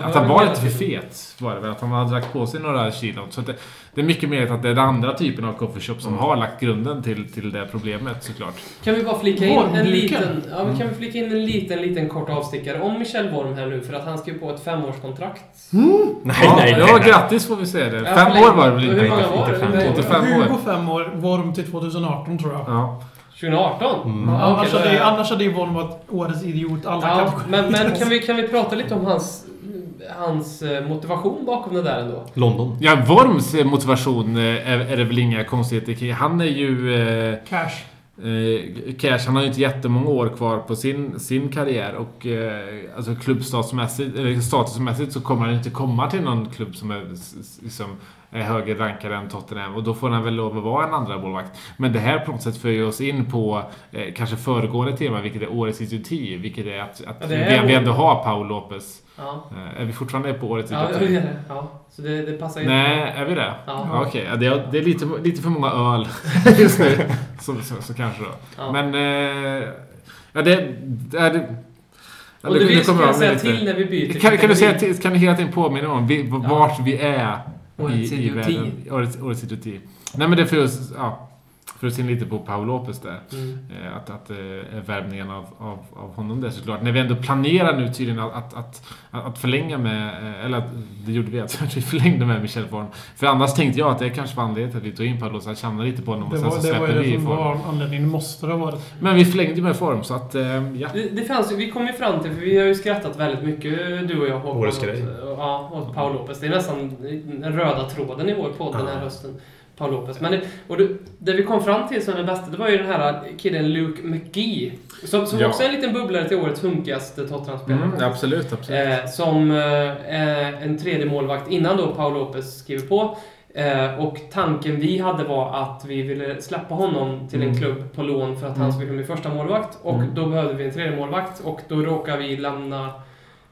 Speaker 5: eh, Att han var lite för fet, var det väl. Att han hade lagt på sig några kilo. Så att det, det är mycket mer att det är den andra typen av coffee shop som har lagt grunden till, till det problemet såklart.
Speaker 3: Kan vi bara flika in en
Speaker 4: Ormduken.
Speaker 3: liten, ja, men kan vi flika in en liten, liten kort avstickare om Michel Worm här nu för att han skrev på ett femårskontrakt.
Speaker 6: Nej,
Speaker 5: ja, ja, grattis får vi säga det.
Speaker 3: Ja,
Speaker 5: Fem
Speaker 3: förlängd.
Speaker 5: år var det väl
Speaker 3: Hur
Speaker 5: inte?
Speaker 3: många var det? Det
Speaker 5: inte
Speaker 3: var-
Speaker 5: fem, 85
Speaker 4: Hugo
Speaker 5: år.
Speaker 4: fem år, Worm till 2018 tror jag.
Speaker 5: Ja.
Speaker 3: 2018?
Speaker 5: Mm.
Speaker 3: Ja, okej,
Speaker 4: annars,
Speaker 3: då
Speaker 4: hade,
Speaker 3: är-
Speaker 4: ju- annars hade ju Worm varit årets idiot alla
Speaker 3: ja,
Speaker 4: kategorier.
Speaker 3: men, men kan vi, kan vi prata lite om hans, hans eh, motivation bakom det där ändå?
Speaker 6: London.
Speaker 5: Ja, Worms eh, motivation eh, är, är det väl inga konstigheter kring. Han är ju... Eh,
Speaker 4: Cash.
Speaker 5: eh, Cash, han har ju inte jättemånga år kvar på sin, sin karriär och eh, alltså klubbstatusmässigt, eller statusmässigt så kommer han inte komma till någon klubb som är, s- s- liksom, är högre rankad än Tottenham och då får han väl lov att vara en andra målvakt Men det här på något sätt för ju oss in på eh, kanske föregående tema, vilket är årets idioti, vilket är att, att
Speaker 3: Ja, det är-
Speaker 5: vi, vi ändå har Paul Lopez.
Speaker 3: Ja,
Speaker 5: Eh, är vi fortfarande på årets
Speaker 3: ja,
Speaker 5: idioti?
Speaker 3: det är det. [LAUGHS] ja. så det, det passar ju.
Speaker 5: Nej, är vi det?
Speaker 3: Ja.
Speaker 5: Ja. Okej, ja, det är, det är lite, lite för många öl [LAUGHS] just nu. så, så, så kanske då.
Speaker 3: Ja.
Speaker 5: Men... Eh, ja, det... det är, det, ja,
Speaker 3: Och
Speaker 5: det-
Speaker 3: det, vi
Speaker 5: kommer
Speaker 3: ska
Speaker 5: jag med
Speaker 3: säga
Speaker 5: lite.
Speaker 3: till när vi byter.
Speaker 5: Kan, kan, du säga till, kan du hela tiden påminna om vi, v-
Speaker 3: Ja.
Speaker 5: vart vi är
Speaker 3: Årets
Speaker 5: i, i
Speaker 3: idioti.
Speaker 5: världen? Årets, årets idioti. Nej, men det är för oss... Ja, för att se lite på Paul Lopez där.
Speaker 3: Mm.
Speaker 5: Eh, Att, att eh, värvningen av, av, av honom där såklart. När vi ändå planerar nu tydligen att, att, att, att förlänga med, eh, eller att, det gjorde vi, att [LAUGHS] vi förlängde med Michel Form. För annars tänkte jag att det kanske var anledningen till att vi tog in Pablo, så att känna lite på honom och
Speaker 4: Det
Speaker 5: sen
Speaker 4: var,
Speaker 5: så
Speaker 4: det var ju
Speaker 5: släpper vi
Speaker 4: det som
Speaker 5: Form.
Speaker 4: var anledningen. Måste det ha varit.
Speaker 5: Men vi förlängde ju med Form så att, eh, ja.
Speaker 3: Det, det fanns, ju- vi kom ju fram till, för vi har ju skrattat väldigt mycket du och jag Håkan.
Speaker 6: Årets grej.
Speaker 3: Åt, ja, åt Paul Lopez. Det är nästan den röda tråden i vår podd den här hösten. Paul Lopez. Men det, och det, det vi kom fram till som det bästa, det var ju den här killen Luke McGee. Som, som
Speaker 5: Ja.
Speaker 3: också är en liten bubblare till årets hunkigaste Tottenham-spelare.
Speaker 5: Mm, absolut, absolut.
Speaker 3: Eh, som eh, en tredje målvakt innan då Paul Lopez skriver på. Eh, och tanken vi hade var att vi ville släppa honom till en
Speaker 5: Mm.
Speaker 3: klubb på lån för att han skulle bli första målvakt Och då behövde vi en tredje målvakt och då råkade vi lämna,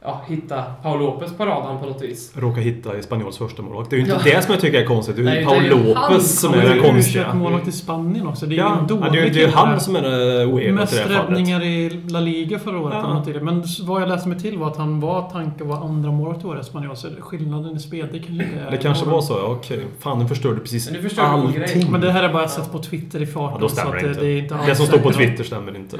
Speaker 3: ja, hitta Paul Lopez på radarn på något vis.
Speaker 6: Råkar hitta Espanyols första målvakt. Det är ju inte det som jag tycker är konstigt. Det är
Speaker 3: Nej,
Speaker 6: ju
Speaker 3: det är
Speaker 6: Paul
Speaker 3: ju han
Speaker 6: Lopez
Speaker 3: som
Speaker 6: som
Speaker 4: Men
Speaker 6: är
Speaker 4: det är
Speaker 6: den
Speaker 4: ju
Speaker 6: konstiga.
Speaker 4: utköpt målvakt i Spanien också. Det är ju
Speaker 6: Ja,
Speaker 4: en
Speaker 6: ja,
Speaker 4: dålig
Speaker 6: det är ju det är ju
Speaker 4: kille.
Speaker 6: han som är eh, oerhört i
Speaker 4: Mest
Speaker 6: det här fallet.
Speaker 4: räddningar i La Liga förra året.
Speaker 6: Ja.
Speaker 4: eller något till. Men vad jag läste mig till var att han var tanken var andra målet i årets Spanien. Så skillnaden i speltid kanske inte är...
Speaker 6: Det kanske var så, ja. Okej. Fan, nu förstörde precis
Speaker 3: Men du förstör vår grej.
Speaker 6: allting.
Speaker 4: Men det här är bara ett sätt på Twitter i farten.
Speaker 6: Ja, då
Speaker 4: så
Speaker 6: stämmer
Speaker 4: att
Speaker 6: det
Speaker 4: det,
Speaker 6: inte.
Speaker 4: det är inte
Speaker 6: Det
Speaker 4: alls
Speaker 6: som står på
Speaker 4: säkert.
Speaker 6: Twitter stämmer inte.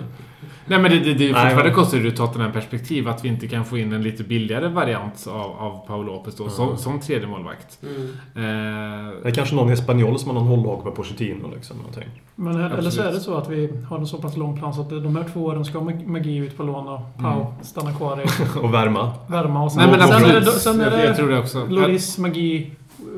Speaker 5: Nej men det, det, det är ju
Speaker 6: Nej,
Speaker 5: fortfarande
Speaker 6: men-
Speaker 5: konstigt ur Tottenham-perspektiv att vi inte kan få in en lite billigare variant av, av Paul Lopez då,
Speaker 4: Mm.
Speaker 5: som, som tredje målvakt.
Speaker 3: Mm.
Speaker 5: Eh,
Speaker 6: Det är kanske någon i Espanyol som har någon hållhake med Pochettino liksom. Någonting. [LAUGHS]
Speaker 4: Men här, eller så
Speaker 5: Absolut.
Speaker 4: är det så att vi har en så pass lång plan så att de här två åren ska Mag- Magi ut på lån och Pau stanna kvar i
Speaker 6: Och värma.
Speaker 4: värma. Och sen,
Speaker 5: Nej men
Speaker 4: sen, är
Speaker 5: absolut.
Speaker 4: det, sen är
Speaker 5: Jag- jag
Speaker 4: det
Speaker 5: tror det också.
Speaker 4: Loris, Magi,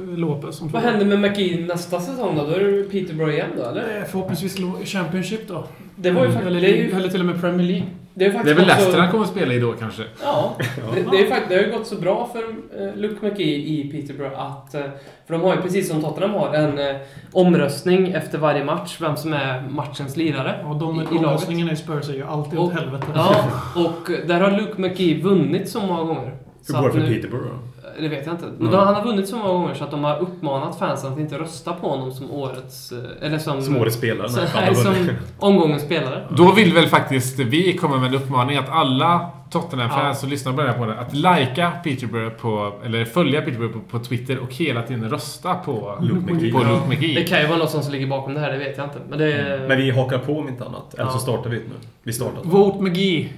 Speaker 4: eh, Lopez som
Speaker 3: Vad händer med McGee nästa säsong då? Då är det Peterborough igen då, eller?
Speaker 4: Eh, Förhoppningsvis lo- Championship då. Mm.
Speaker 3: Det var ju
Speaker 5: Mm.
Speaker 4: Eller,
Speaker 3: faktiskt... Det är ju,
Speaker 4: eller till och med Premier League.
Speaker 3: det är, ju
Speaker 5: Det är
Speaker 3: faktiskt
Speaker 5: väl
Speaker 3: också-
Speaker 5: Leicester han kommer att spela i då kanske?
Speaker 3: Ja, det, det, är fakt- det har ju gått så bra för eh, Luke McGee i Peterborough att... eh, För de har ju, precis som Tottenham har, en eh, omröstning efter varje match, vem som är matchens lirare.
Speaker 4: Ja, de
Speaker 3: I- i laget.
Speaker 4: omröstningarna i Spurs är ju alltid
Speaker 3: Och-
Speaker 4: åt helvete.
Speaker 3: Ja, och där har Luke McGee vunnit så många gånger.
Speaker 6: Hur
Speaker 3: Så
Speaker 6: går det
Speaker 3: att
Speaker 6: för Mm.
Speaker 3: nu-
Speaker 6: Peterborough?
Speaker 3: Det vet jag inte. Men då, han har vunnit så många gånger så att de har uppmanat fansen att inte rösta på honom som årets... eh, Eller som...
Speaker 6: Som årets spelare?
Speaker 3: som,
Speaker 6: Nej, fan,
Speaker 3: [LAUGHS] nej,
Speaker 6: det var-
Speaker 3: som omgångens spelare.
Speaker 5: Då vill väl faktiskt vi komma med en uppmaning att alla Tottenham-fans som lyssnar på den här podden, att lajka Peterborough på, eller följa Peterborough på, på Twitter och hela tiden rösta på
Speaker 6: Luke McGee.
Speaker 5: På Luke
Speaker 3: Det
Speaker 5: McGee.
Speaker 3: kan ju vara något som ligger bakom det här, det vet
Speaker 6: Mm.
Speaker 3: jag inte. Men det...
Speaker 6: Men vi hakar på om inte annat. Eller så
Speaker 3: Ja.
Speaker 6: startar vi ett nu. Vi startar.
Speaker 4: Vote McGee.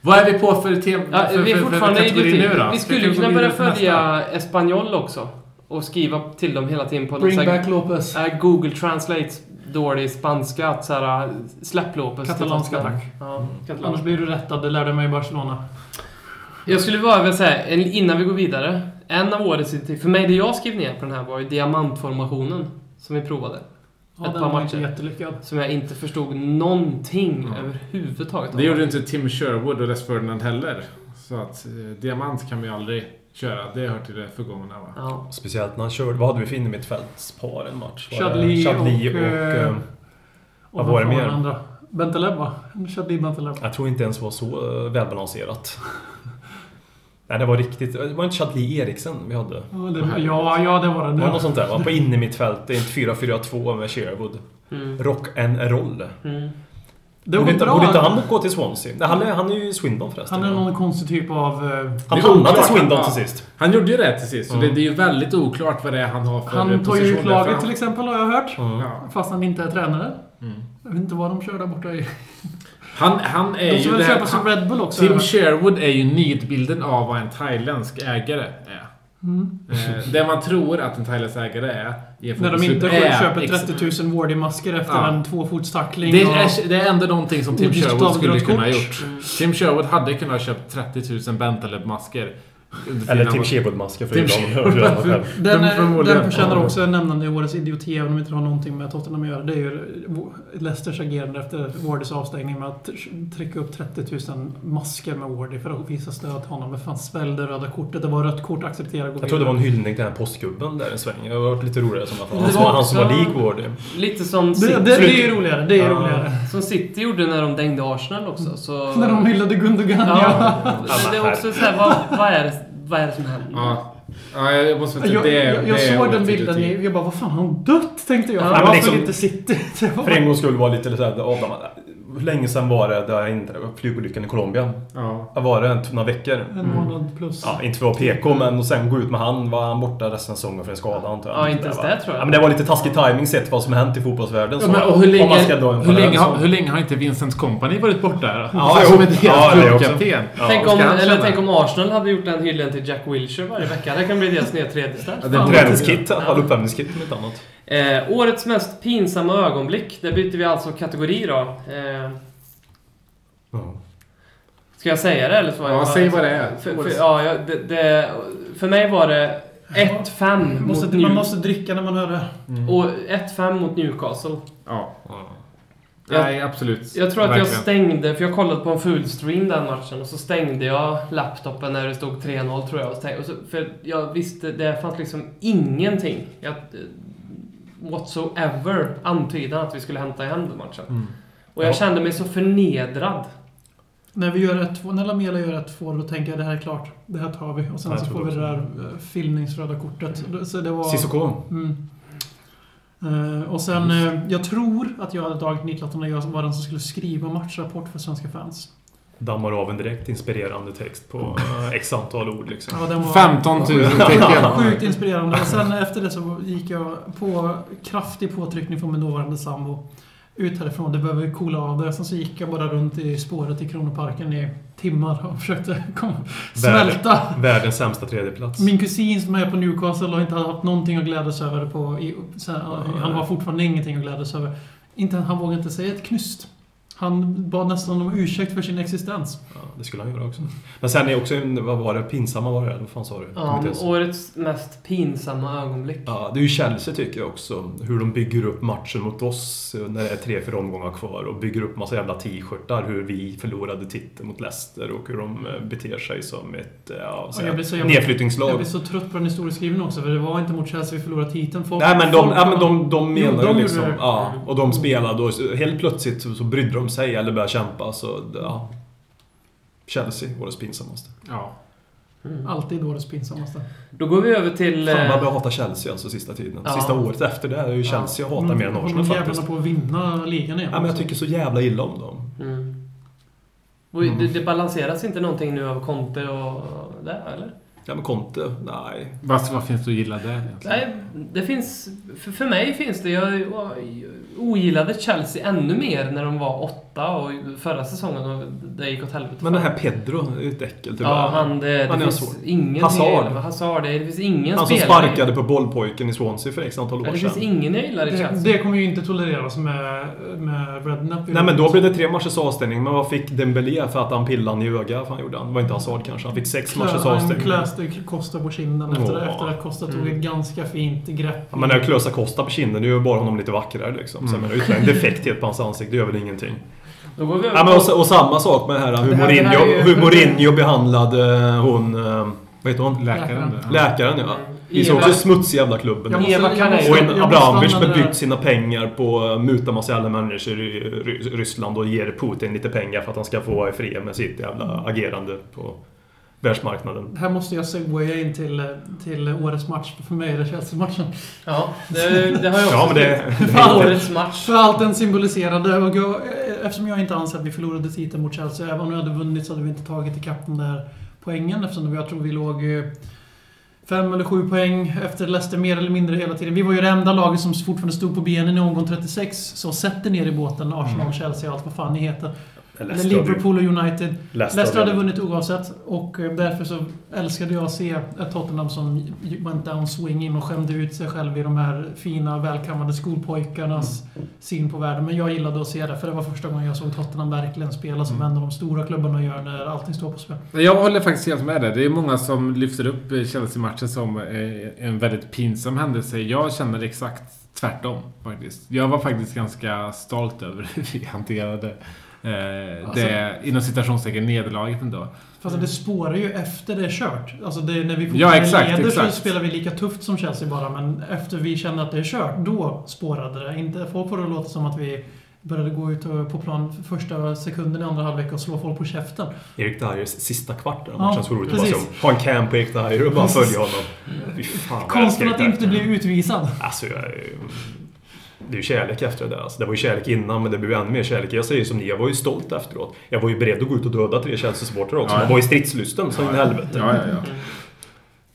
Speaker 5: Vad är vi på för tema?
Speaker 3: Ja,
Speaker 5: för,
Speaker 3: vi är
Speaker 5: för- för
Speaker 3: fortfarande i
Speaker 5: kategori
Speaker 3: idioti.
Speaker 5: nu då?
Speaker 3: Vi skulle
Speaker 5: Vilken
Speaker 3: kunna
Speaker 5: kategori
Speaker 3: börja
Speaker 5: är det nästa?
Speaker 3: följa Espanyol också. Och skriva till dem hela tiden på någon
Speaker 4: Bring
Speaker 3: sån här,
Speaker 4: back Lopez.
Speaker 3: äh, Google Translate dålig spanska. Att såhär, släpp Lopez.
Speaker 4: Katalanska,
Speaker 3: Eller något
Speaker 4: tack.
Speaker 3: sånt där.
Speaker 5: Mm.
Speaker 3: Ja,
Speaker 4: Annars
Speaker 3: katalanska.
Speaker 4: blir du rättad, det lärde jag mig i Barcelona.
Speaker 3: Jag skulle bara vilja säga, en- innan vi går vidare. En av årets idioter- För mig, det jag skrev ner på den här var ju diamantformationen. Som vi provade.
Speaker 4: Ja,
Speaker 3: Ett
Speaker 4: den
Speaker 3: par
Speaker 4: var inte
Speaker 3: matcher.
Speaker 4: jättelyckad.
Speaker 3: Som jag inte förstod någonting överhuvudtaget av.
Speaker 5: Det gjorde inte Tim Sherwood och Les Ferdinand heller. Så att eh, diamant kan vi aldrig köra. Det hör till det förgångna va?
Speaker 3: Ja.
Speaker 6: Speciellt när han körde... Vad hade vi för innermittfältspar en match? Var det
Speaker 4: Chadli
Speaker 6: Chadli
Speaker 4: och,
Speaker 6: och...
Speaker 4: eh,
Speaker 6: eh,
Speaker 4: Och
Speaker 6: Vad var det
Speaker 4: fan
Speaker 6: mer?
Speaker 4: Andra. Bentaleb va? Shadi Bentaleb.
Speaker 6: jag tror inte ens var så eh, välbalanserat. [LAUGHS] Nej, det var riktigt... Det var inte Chadli Eriksen vi hade?
Speaker 4: Ja, det- Ja, ja, det var det.
Speaker 6: Det var något
Speaker 4: det.
Speaker 6: sånt där va? På innermittfältet, en 4-4-2 med Sherwood.
Speaker 3: Mm.
Speaker 6: Rock and roll.
Speaker 3: Mm.
Speaker 4: Det
Speaker 6: borde,
Speaker 4: var
Speaker 6: inte, borde inte
Speaker 4: bra.
Speaker 6: han gå till Swansea? Nej, han, är, han är ju i Swindon förresten.
Speaker 4: Han är någon konstig typ av... eh,
Speaker 6: han
Speaker 5: Det är
Speaker 6: hamnade i
Speaker 5: oklart.
Speaker 6: Swindon
Speaker 5: Ja.
Speaker 6: till sist.
Speaker 5: Han gjorde ju det till sist. Så
Speaker 6: Mm.
Speaker 5: det, det är ju väldigt oklart vad det är han har för
Speaker 4: Han tar ju
Speaker 5: position
Speaker 4: ut
Speaker 5: där, för
Speaker 4: laget
Speaker 5: han-
Speaker 4: till exempel har jag hört.
Speaker 5: Ja.
Speaker 4: Fast han inte är tränare.
Speaker 5: Mm.
Speaker 4: Jag vet inte vad de kör där borta i...
Speaker 5: Han, han är
Speaker 4: De
Speaker 5: ju...
Speaker 4: ska väl
Speaker 5: det här-
Speaker 4: köpa som
Speaker 5: han-
Speaker 4: Red Bull också?
Speaker 5: Tim
Speaker 4: eller?
Speaker 5: Sherwood är ju nidbilden av vad en thailändsk ägare är.
Speaker 4: Mm.
Speaker 5: Eh, det man tror att en thailändsk ägare är... i en
Speaker 4: När de inte
Speaker 5: fotbollsklubb är
Speaker 4: köper
Speaker 5: ex-
Speaker 4: 30 000 Wardy-masker efter
Speaker 5: Ja.
Speaker 4: en tvåfotstackling
Speaker 5: Det
Speaker 4: och... Mm.
Speaker 5: är, det är ändå någonting som Tim
Speaker 4: Odiskt
Speaker 5: Sherwood skulle
Speaker 4: avdragskort.
Speaker 5: kunna ha gjort. Tim Sherwood hade kunnat ha köpt 30 000 Bentaleb-masker.
Speaker 6: Eller Tim Sherwood-masker för
Speaker 5: Tim
Speaker 6: Irland.
Speaker 4: [LAUGHS] Den,
Speaker 5: Vem
Speaker 4: är,
Speaker 5: förmodligen?
Speaker 4: den förtjänar
Speaker 5: Ja.
Speaker 4: också att nämna i årets idioti, även om det inte har någonting med Tottenham att göra. Det är ju Leicesters agerande efter Wardys avstängning med att trycka upp 30 000 masker med Wardy för att visa stöd till honom. Men fan, svälj det röda kortet. Det var rött kort, acceptera, gå
Speaker 6: Jag trodde det var en
Speaker 4: vidare.
Speaker 6: hyllning till den här påskgubben där en sväng. Det har varit lite roligare som att han,
Speaker 3: Det
Speaker 6: som
Speaker 3: var
Speaker 6: han som
Speaker 3: också-
Speaker 6: var lik Wardy.
Speaker 3: Lite som
Speaker 4: det,
Speaker 3: City,
Speaker 4: det, det är ju roligare. Det är ju
Speaker 6: Ja.
Speaker 4: roligare.
Speaker 3: som City gjorde när de dängde Arsenal också. Så...
Speaker 4: [LAUGHS] När de hyllade Gundogan, ja.
Speaker 3: Ja. Men Det är också såhär, vad, vad, är det, vad är det som händer?
Speaker 5: Ja. ja, jag måste säga
Speaker 4: Jag,
Speaker 5: det är-
Speaker 4: jag,
Speaker 5: det
Speaker 4: jag
Speaker 5: är
Speaker 4: såg den
Speaker 5: årets
Speaker 4: bilden
Speaker 5: idioti.
Speaker 4: i- jag bara vad fan har hon dött? Tänkte jag.
Speaker 3: Ja,
Speaker 4: Varför
Speaker 6: men liksom-
Speaker 4: inte City? [LAUGHS] Det var
Speaker 6: För en gångs skull var lite såhär avdammad. äh, Hur länge sedan var det där jag inte... Flygolyckan i Colombia?
Speaker 5: Ja.
Speaker 6: Vad var det? en- Några veckor?
Speaker 4: en månad plus.
Speaker 6: Ja, inte för att vara PK,
Speaker 5: Mm.
Speaker 6: men och sen gå ut med han. Var han borta resten av säsongen för en skada antar jag.
Speaker 3: Ja, inte ens
Speaker 6: va?
Speaker 3: det tror jag.
Speaker 6: Ja, men det var lite taskig timing sett vad som hänt i fotbollsvärlden.
Speaker 5: Ja,
Speaker 6: så-
Speaker 5: men, och hur
Speaker 6: om
Speaker 5: länge,
Speaker 6: man ska dra en
Speaker 5: hur, länge
Speaker 6: parallell
Speaker 5: har,
Speaker 6: så-
Speaker 5: hur länge har inte Vincent Company varit borta?
Speaker 6: Ja,
Speaker 5: Ja, som
Speaker 6: jo.
Speaker 5: en
Speaker 6: Ja, det också.
Speaker 5: klubbkapten.
Speaker 3: Tänk,
Speaker 5: Ja,
Speaker 3: om,
Speaker 5: ska han
Speaker 3: eller
Speaker 5: känna?
Speaker 3: tänk om Arsenal hade gjort den hyllningen till Jack Wilshere varje vecka. Det kan bli deras nya tredje stjärna.
Speaker 5: Ja, det är
Speaker 6: En
Speaker 5: en
Speaker 6: Träningskit, i alla fall uppvärmningskit om inte annat.
Speaker 3: Eh, årets mest pinsamma ögonblick. Där byter vi alltså kategori då. Eh, ska jag säga det eller så?
Speaker 5: Ja, säg vad det är.
Speaker 3: För, för, ja, jag- det, det, för mig var det 1-5
Speaker 4: Måste,
Speaker 3: mot,
Speaker 4: man
Speaker 3: New-
Speaker 4: måste dricka när man hör det.
Speaker 3: och 1-5 mot Newcastle.
Speaker 5: Ja.
Speaker 3: Jag-
Speaker 5: Nej, absolut.
Speaker 3: Jag tror att jag
Speaker 5: Verkligen.
Speaker 3: stängde, för jag kollade på en full stream den matchen och så stängde jag laptopen när det stod 3-0 tror jag. Och så tänkte- och så, för jag visste, det fanns liksom ingenting. Jag, eh, whatsoever antydan att vi skulle hämta hem den matchen. Och jag
Speaker 6: Mm. Ja.
Speaker 3: kände mig så förnedrad.
Speaker 4: När vi gör ett två, när Lamela gör ett två, då tänker jag det här är klart. Det här tar vi. Och sen
Speaker 6: Ja, jag
Speaker 4: så
Speaker 6: tror
Speaker 4: får vi
Speaker 6: det
Speaker 4: det där eh, filmningsröda kortet. Så det- Så det var...
Speaker 6: Cissoko.
Speaker 4: Mm. Eh, och sen, eh, jag tror att jag hade tagit Niklaton och jag var den som skulle skriva matchrapport för svenska fans.
Speaker 6: Dammar av en direkt inspirerande text på eh, x antal ord liksom.
Speaker 4: Ja, den var
Speaker 5: 15 000
Speaker 4: [LAUGHS]
Speaker 5: tecken.
Speaker 4: sjukt inspirerande. Och sen efter det så gick jag på kraftig påtryckning från min dåvarande sambo. Ut härifrån, det behöver coola av det. Sen så gick jag bara runt i spåret i Kronoparken i timmar och försökte komma, smälta.
Speaker 6: Världens sämsta tredjeplats.
Speaker 4: Min kusin som är på Newcastle har inte haft någonting att glädjas över. På, i, så här, han var fortfarande ingenting att glädjas över. Inte, han vågade inte säga ett knyst. Han bad nästan om ursäkt för sin existens.
Speaker 6: Ja, det skulle han göra också. Men sen är också en, vad var det, pinsamma var det? Vad fan sa du? Kommer
Speaker 3: Ja,
Speaker 6: inte ens-
Speaker 3: årets mest pinsamma ögonblick.
Speaker 6: Ja, det är ju Chelsea tycker jag också. Hur de bygger upp matchen mot oss eh, när det är tre, fyra omgångar kvar och bygger upp massa jävla t-shirtar. Hur vi förlorade titeln mot Leicester och hur de eh, beter sig som ett eh, ja, så
Speaker 4: jag blir så
Speaker 6: här,
Speaker 4: jävla-
Speaker 6: nedflyttningslag.
Speaker 4: Jag blir så trött på den historieskrivningen också, för det var inte mot Chelsea vi förlorade titeln. Folk,
Speaker 6: Nej men de,
Speaker 4: folk-
Speaker 6: ja, men de, de
Speaker 4: Jo,
Speaker 6: menar
Speaker 4: de
Speaker 6: ju
Speaker 4: gjorde
Speaker 6: liksom...
Speaker 4: det.
Speaker 6: Ja, och de spelade och så- helt plötsligt så, så brydde de sig eller började kämpa. Så ja. Chelsea, årets pinsammaste.
Speaker 5: Ja.
Speaker 4: Alltid årets pinsammaste.
Speaker 3: Mm. Då går vi över till...
Speaker 6: Fan vad jag
Speaker 3: Eh,
Speaker 6: börjar hata Chelsea alltså sista tiden.
Speaker 3: Ja.
Speaker 6: Sista året efter det är ju Chelsea jag hatar mer än Arsenal
Speaker 4: Håller de
Speaker 6: faktiskt.
Speaker 4: jävlarna på att vinna ligan igen? alltså.
Speaker 6: Ja, men jag tycker så jävla illa om dem.
Speaker 3: eh,
Speaker 6: Mm.
Speaker 3: mm. Och Det, det balanseras inte någonting nu av Conte och det, eller?
Speaker 6: Ja men Conte, nej.
Speaker 5: Vad, vad finns det att gilla där egentligen?
Speaker 3: Nej, det finns... För, för mig finns det... Jag, jag ogillade Chelsea ännu mer när de var åtta och förra säsongen och det gick åt helvete.
Speaker 6: Men den här Pedro, det är ju ett äckel tyvärr.
Speaker 3: Ja, han, det, det
Speaker 6: Han är
Speaker 3: finns
Speaker 6: svår.
Speaker 3: ingen
Speaker 6: Hazard.
Speaker 3: hel- Hazard. Det, det finns ingen
Speaker 6: Han som
Speaker 3: spelare.
Speaker 6: sparkade på bollpojken i Swansea för x antal
Speaker 3: Ja,
Speaker 6: år
Speaker 3: Det
Speaker 6: sedan.
Speaker 3: finns ingen jag gillar i
Speaker 4: Det,
Speaker 3: Chelsea.
Speaker 4: det kommer ju inte tolereras med, med Redknapp.
Speaker 6: Nej men då blev det tre matchers avstängning. Men vad fick Dembélé för att han pillade han i ögat? Fan gjorde han? Det var inte Hazard kanske. Han fick sex matchers
Speaker 4: Han
Speaker 6: avstängning.
Speaker 4: klöste Costa på kinden efter,
Speaker 6: Åh. mm.
Speaker 4: efter att Costa tog ett ganska fint grepp.
Speaker 6: Ja, men när jag klösar Costa på kinden, det gör ju bara honom lite vackrare liksom. Så jag menar, ytterligare en defekthet på hans ansikte, det gör väl ingenting.
Speaker 3: Då går vi över
Speaker 6: Ja, men
Speaker 3: på-
Speaker 6: och, och samma sak med det här hur
Speaker 4: Det här- det
Speaker 6: Mourinho,
Speaker 4: här är ju-
Speaker 6: hur Mourinho behandlade eh, hon... eh, Vad heter hon?
Speaker 5: Läkaren där.
Speaker 6: Läkaren ja. Det är så
Speaker 3: Eva.
Speaker 6: också smutsig jävla klubben.
Speaker 4: Jag
Speaker 3: Eva
Speaker 4: jag
Speaker 3: kan
Speaker 4: måste-
Speaker 3: ju-
Speaker 6: Och
Speaker 4: jag
Speaker 6: en
Speaker 4: måste
Speaker 6: Abramovich som
Speaker 4: använda
Speaker 6: har
Speaker 4: det här.
Speaker 6: byggt sina pengar på att muta massa jävla människor i Ry- Ryssland och ger Putin lite pengar för att han ska få vara i fred med sitt jävla agerande på världsmarknaden.
Speaker 4: Här måste jag segwaya in till, eh, till årets match. För mig är det Chelsea-matchen.
Speaker 3: Ja, det, det har jag också
Speaker 6: Ja men det...
Speaker 3: skrivit. Fan, Årets match.
Speaker 4: För allt den symboliserade. Och jag, eh, eftersom jag inte anser att vi förlorade titeln mot Chelsea. Även om vi hade vunnit så hade vi inte tagit ikapp den där poängen. Eftersom jag tror vi låg eh, fem eller sju poäng efter Leicester mer eller mindre hela tiden. Vi var ju det enda laget som fortfarande stod på benen i omgång 36. Så sätt er ner i båten, Arsenal, Chelsea och allt vad fan ni heter. Eller Liverpool och United.
Speaker 6: Leicester
Speaker 4: Leicester hade
Speaker 6: hade-
Speaker 4: vunnit oavsett och eh, därför så älskade jag att se ett Tottenham som went down swinging och skämde ut sig själv i de här fina välkammade skolpojkarnas syn på världen. Men jag gillade att se det för det var första gången jag såg Tottenham verkligen spela som en av de stora klubbarna gör när allting står på spel.
Speaker 5: Jag håller faktiskt helt med dig. Det är många som lyfter upp eh, Chelsea-matchen som eh, en väldigt pinsam händelse. Jag känner exakt tvärtom faktiskt. Jag var faktiskt ganska stolt över [LAUGHS] hur vi hanterade eh, det, inom citationstecken, nederlaget ändå.
Speaker 4: Fast det spårar ju efter det är kört. Alltså det, när vi
Speaker 5: Mm. Ja, exakt,
Speaker 4: leder
Speaker 5: exakt.
Speaker 4: så spelar vi lika tufft som Chelsea bara men efter vi känner att det är kört, då spårade det. Inte, folk får det att låta som att vi började gå ut och- på plan för första sekunden i andra halvlek och slå folk på käften.
Speaker 6: Erik Dyers sista kvart av
Speaker 4: Ja,
Speaker 6: matchen så roligt att bara se om.
Speaker 4: precis.
Speaker 6: Ha en cam på Erik Dyer och bara följa honom. Fy fan vad jag
Speaker 4: Konstigt
Speaker 6: älskar Erik
Speaker 4: att
Speaker 6: Dyer.
Speaker 4: inte bli
Speaker 5: [LAUGHS]
Speaker 4: utvisad.
Speaker 6: Alltså, jag, är ju- det är ju kärlek efter det där. Alltså, det var ju kärlek innan, men det blev ju ännu mer kärlek. Jag säger som ni, jag var ju stolt efteråt. Jag var ju beredd att gå ut och döda tre Chelsea-supportrar också.
Speaker 5: Ja, ja.
Speaker 6: Man var ju stridslysten så in i helvete.
Speaker 5: Ja, ja, ja.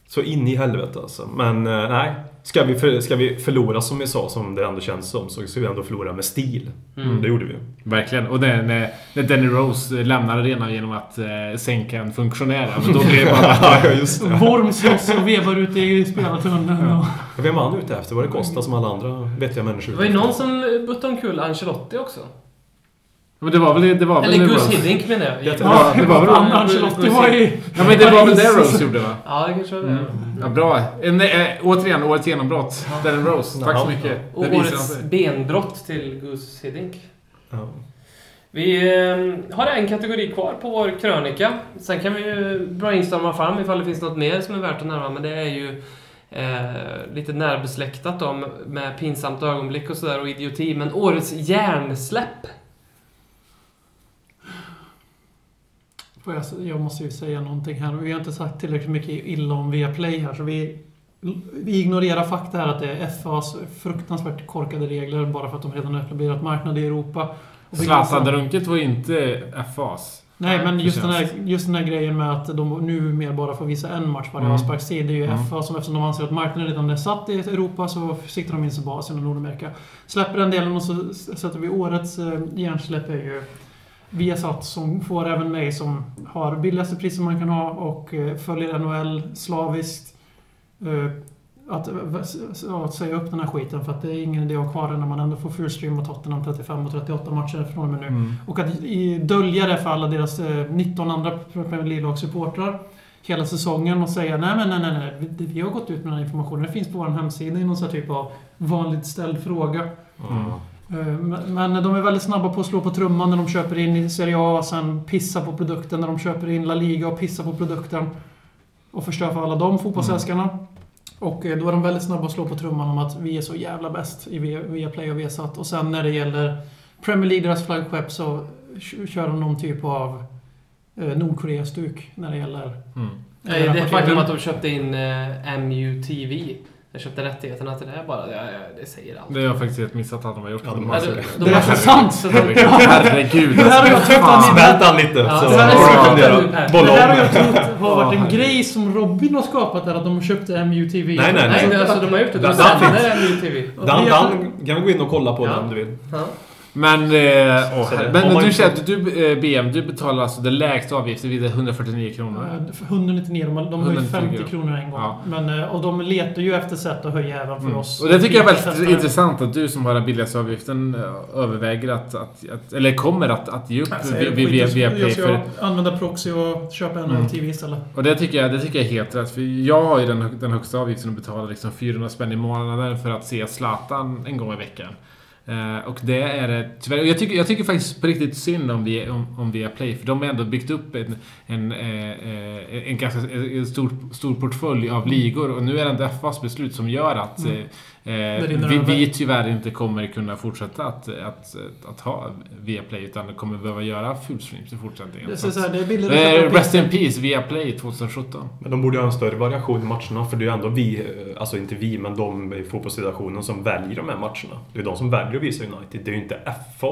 Speaker 6: Så in i helvete alltså. Men eh, nej, ska vi, för, ska vi förlora som vi sa, som det ändå känns som, så ska vi ändå förlora med stil. Mm.
Speaker 3: Mm.
Speaker 6: Det gjorde vi.
Speaker 5: Verkligen. Och det, när, när Danny Rose eh, lämnar arenan genom att eh, sänka en funktionär. ja, Men då blir det bara...
Speaker 6: Ja, just [LAUGHS] det.
Speaker 4: Worm slåss och vevar ute i spelartunneln. Och...
Speaker 6: Vem var han ute efter? Var det Costa som alla andra vettiga människor?
Speaker 3: Det var ju någon som buttade omkull Ancelotti också.
Speaker 5: Men det var väl... Det var väl
Speaker 3: Eller
Speaker 5: Rose?
Speaker 3: Gus Hiddink menar jag.
Speaker 6: Det-
Speaker 5: Ja, det var väl
Speaker 4: Fan,
Speaker 5: Rose.
Speaker 4: Ancelotti var i...
Speaker 5: Ja, men det var
Speaker 3: [LAUGHS]
Speaker 5: väl det Rose gjorde va?
Speaker 3: Ja, det kanske var det.
Speaker 6: Mm.
Speaker 5: Ja, bra. Eh, nej, eh, återigen, årets genombrott. Danny Rose. Tack så
Speaker 6: Ja.
Speaker 5: mycket.
Speaker 3: Och
Speaker 5: Det visar han
Speaker 3: årets
Speaker 5: sig.
Speaker 3: benbrott till Gus Hiddink.
Speaker 6: Ja.
Speaker 3: Vi eh, har en kategori kvar på vår krönika. Sen kan vi ju brainstorma fram ifall det finns något mer som är värt att nämna, men det är ju eh, lite närbesläktat då, med pinsamt ögonblick och sådär och idioti. Men årets hjärnsläpp.
Speaker 4: Får jag, jag måste ju säga någonting här. Vi har inte sagt tillräckligt mycket illa om Viaplay här, så vi, vi ignorerar fakta här att det är FAs fruktansvärt korkade regler bara för att de redan har etablerat marknad i Europa. Och vi-
Speaker 5: Zlatan-drunket var ju inte FAs.
Speaker 4: Nej, men just den,
Speaker 5: Precis.
Speaker 4: här, just den här grejen med att de numera bara får visa en match varje
Speaker 5: Mm.
Speaker 4: avsparkstid. Det är ju
Speaker 5: Mm.
Speaker 4: FA som eftersom de anser att marknaden redan är satt i Europa så siktar de in sig på Asien och Nordamerika. Släpper den delen och så s- sätter vi årets eh, hjärnsläpp är ju Viasat som får även mig som har billigaste priser man kan ha och eh, följer NHL slaviskt. Eh, Att, eh, va- s- s- ja, att säga upp den här skiten för att det är ingen idé att ha kvar den när man ändå får fullstream och Tottenham 35 och 38 matcher från och med nu. Och att i- dölja det för alla deras eh, 19 andra Premier League-lagssupportrar hela säsongen och säga nej, men nej, nej, nej. vi- Vi har gått ut med den här informationen. Det finns på vår hemsida i någon sån här typ av vanligt ställd fråga. Eh, men- Men de är väldigt snabba på att slå på trumman när de köper in i Serie A och sen pissa på produkten när de köper in La Liga och pissa på produkten och förstör för alla de fotbollsälskarna. Och eh, då är de väldigt snabba att slå på trumman om att vi är så jävla bäst i Vi- Viaplay och Viasat. Och sen när det gäller Premier League, deras flaggskepp, så k- kör de någon typ av eh, Nordkorea-stuk när det gäller...
Speaker 5: Mm.
Speaker 3: Eh, Det är ett faktum att de köpte in eh, MUTV. Jag köpte rättigheterna till det här bara. Det, det säger allt.
Speaker 5: Det har jag faktiskt helt missat att de har gjort.
Speaker 6: Ja, de har
Speaker 3: Ja,
Speaker 5: [LAUGHS] det.
Speaker 3: de-
Speaker 6: det.
Speaker 3: de har
Speaker 4: så
Speaker 3: köpt-
Speaker 4: sant!
Speaker 3: så-
Speaker 5: Herregud, herregud.
Speaker 4: Det här har jag
Speaker 5: alltså,
Speaker 4: trott
Speaker 5: fan.
Speaker 4: att
Speaker 6: Smält han lite. Ja, så
Speaker 3: det här är
Speaker 6: får du
Speaker 3: smart.
Speaker 6: fundera.
Speaker 4: Det här
Speaker 6: Bolla
Speaker 4: har
Speaker 6: om.
Speaker 4: jag trott har varit en
Speaker 5: Ja,
Speaker 4: grej som Robin har skapat där, att de köpte MUTV.
Speaker 6: Nej, nej,
Speaker 3: Nej, det, alltså de har gjort det. De
Speaker 6: Där-
Speaker 3: sänder det nu i TV.
Speaker 6: Dan, Dan kan vi gå in och kolla på
Speaker 3: Ja.
Speaker 6: den om du vill.
Speaker 3: Ja.
Speaker 5: Men, eh, åh,
Speaker 6: Så det- Oh
Speaker 5: herre-
Speaker 6: om
Speaker 5: men,
Speaker 6: man-
Speaker 5: men du säger att du, eh, BM, du betalar alltså det lägsta avgiften vid 149 kronor.
Speaker 4: Eh, för 199, de, de höjde
Speaker 5: 199
Speaker 4: 50 kronor en gång.
Speaker 5: Ja. Mm.
Speaker 4: Men, eh, och de letar ju efter sätt att höja även för oss.
Speaker 5: Och det tycker jag är väldigt
Speaker 4: Testare.
Speaker 5: intressant att du som har den billigaste avgiften eh, överväger att, att, att eller kommer att, att ge upp
Speaker 4: Alltså,
Speaker 5: vi-
Speaker 4: jag
Speaker 5: vi- via
Speaker 4: skiter-
Speaker 5: via Viaplay.
Speaker 4: Jag ska
Speaker 5: För,
Speaker 4: använda proxy och köpa en
Speaker 5: Mm.
Speaker 4: TV istället.
Speaker 5: och det tycker, jag, det tycker jag är helt rätt. För jag har ju den, hö- den högsta avgiften och betalar liksom 400 spänn i månaden för att se Zlatan en gång i veckan. Eh, och det är det tyvärr. Och jag tycker, jag tycker faktiskt på riktigt synd om, vi, om, om Viaplay. För de har ändå byggt upp en, en, eh, eh, en ganska en stor, stor portfölj av ligor. Och nu är det ändå FAs beslut som gör att eh, eh,
Speaker 4: rinner
Speaker 5: vi,
Speaker 4: över.
Speaker 5: vi tyvärr inte kommer kunna fortsätta att, att, att ha Viaplay. Utan kommer behöva göra fullstreams i fortsättningen.
Speaker 4: Det, är
Speaker 5: Så att-
Speaker 4: så här, det är billigare att
Speaker 5: Eh,
Speaker 4: köpa
Speaker 5: rest in peace Viaplay 2017.
Speaker 6: Men de borde ju ha en större variation i matcherna för det är ju ändå vi, eh, alltså inte vi, men de i fotbollsdelegationen som väljer de här matcherna. Det är de som väljer att visa United, det är ju inte FA.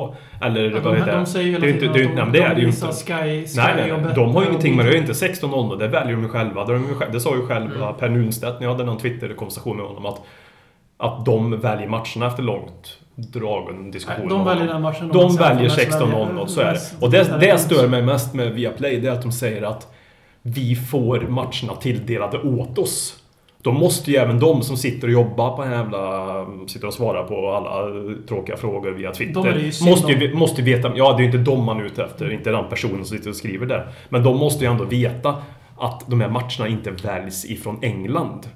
Speaker 4: Ja,
Speaker 6: Eller vad
Speaker 4: de,
Speaker 6: heter
Speaker 4: de
Speaker 6: det?
Speaker 4: säger ju
Speaker 6: Det
Speaker 4: hela
Speaker 6: är ju inte,
Speaker 4: tiden
Speaker 6: det är ju inte, nej, men det är
Speaker 4: de
Speaker 6: det ju inte.
Speaker 4: visar Sky, Sky
Speaker 6: Nej, nej,
Speaker 4: och
Speaker 6: nej,
Speaker 4: Bet-
Speaker 6: de har ju ingenting med det. Det är
Speaker 4: och-
Speaker 6: inte 16.00, det väljer de ju själva. Det, har de ju själv, det sa ju själv
Speaker 4: Mm.
Speaker 6: Per Nunstedt när jag hade någon Twitter-konversation med honom att, att de väljer matcherna efter långt dragen diskussion.
Speaker 4: Nej,
Speaker 6: med
Speaker 4: De
Speaker 6: honom.
Speaker 4: väljer den matchen.
Speaker 6: De
Speaker 4: bestämmer
Speaker 6: väljer
Speaker 4: för Sverige.
Speaker 6: 16.00, så är det.
Speaker 4: Mm.
Speaker 6: Och det, det stör mig mest med Viaplay, det är att de säger att vi får matcherna tilldelade åt oss. Då måste ju även de som sitter och jobbar på den här jävla... Sitter och svarar på alla eh, tråkiga frågor via
Speaker 4: De är det ju
Speaker 6: Twitter.
Speaker 4: synd
Speaker 6: måste,
Speaker 4: om.
Speaker 6: ju, måste ju veta... Ja, det är ju inte dem man är ute efter. Inte den personen som sitter och skriver där. Men de måste ju ändå veta att de här matcherna inte väljs ifrån England.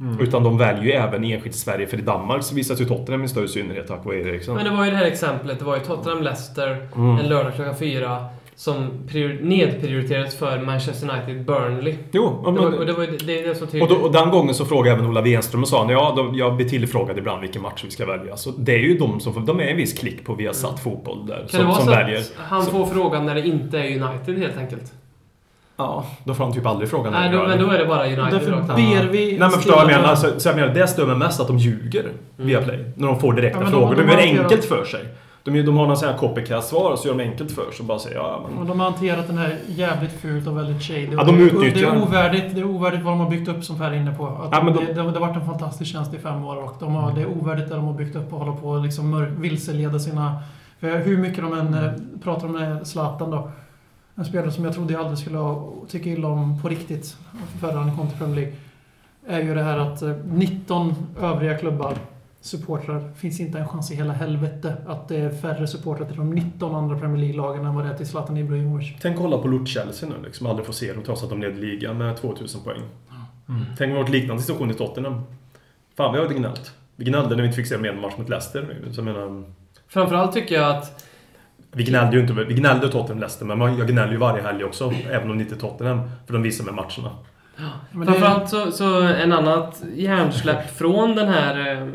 Speaker 4: Mm.
Speaker 6: Utan de väljer ju även enskilt Sverige. För i Danmark så visas ju Tottenham i större synnerhet tack vare Eriksen.
Speaker 3: Men det var ju det här exemplet. Det var ju Tottenham-Leicester
Speaker 6: Mm.
Speaker 3: en lördag klockan fyra som prior- nedprioriterades för Manchester United-Burnley.
Speaker 6: Jo, ja,
Speaker 3: Det var,
Speaker 6: men-
Speaker 3: och det var ju det, det är så
Speaker 6: Och,
Speaker 3: tydligt.
Speaker 6: då, och den gången så frågade även Ola Wenström och sa han, ja, de, jag blir tillfrågad ibland vilken match vi ska välja. Så det är ju de som får, de är en viss klick på Viasat Fotboll där.
Speaker 3: Mm. kan det
Speaker 6: som,
Speaker 3: vara
Speaker 6: som
Speaker 3: så
Speaker 6: väljer.
Speaker 3: att han får frågan när det inte är United helt enkelt?
Speaker 6: Ja, då får han typ aldrig frågan.
Speaker 3: Nej, då, men då är det bara
Speaker 4: Och
Speaker 3: United
Speaker 4: Därför
Speaker 3: rakt av.
Speaker 4: ber vi...
Speaker 6: Nej men förstår vad jag menar? Så, så jag menar, det stör mig mest att de ljuger
Speaker 3: Mm.
Speaker 6: via Play. När de får direkta
Speaker 4: Ja, men de-
Speaker 6: frågor.
Speaker 4: de
Speaker 6: De, gör
Speaker 4: har-
Speaker 6: det enkelt för sig. De, de har någon sån här copycat-svar och så gör de enkelt för sig och bara säger ja, men...
Speaker 4: Och de har hanterat den här jävligt fult och väldigt shady.
Speaker 6: Ja, de utnyttjar
Speaker 4: det, är
Speaker 6: den.
Speaker 4: ovärdigt, det är ovärdigt vad de har byggt upp som Per är inne på. Att
Speaker 6: Ja, men de-
Speaker 4: det, det, har- det har varit en fantastisk tjänst i fem år och de har, det är ovärdigt det de har byggt upp och håller på att liksom mör- vilseleda sina... För hur mycket de än eh, pratar om Zlatan då. En spelare som jag trodde jag aldrig skulle ha- tycka illa om på riktigt förrän han kom till Premier League. Är ju det här att eh, 19 övriga klubbar supportrar finns inte en chans i hela helvete att det är färre supportrar till de 19 andra Premier League-lagen än vad det är till Zlatan Ibrahimovic.
Speaker 6: Tänk kolla på Lord Chelsea nu liksom. Aldrig får se dem trots att de leder ligan med 2000 poäng. Tänk om det varit liknande situation i Tottenham. Fan, vi har ju gnällt. Vi gnällde när vi inte fick se med en match mot Leicester. Så jag menar,
Speaker 3: Framförallt tycker jag att...
Speaker 6: vi gnällde ju inte. Vi gnällde Tottenham-Leicester, men man- jag gnäller ju varje helg också. även om det inte är Tottenham. För de visar med matcherna.
Speaker 4: Men det,
Speaker 3: Framförallt så, så en annat hjärnsläpp från den här eh,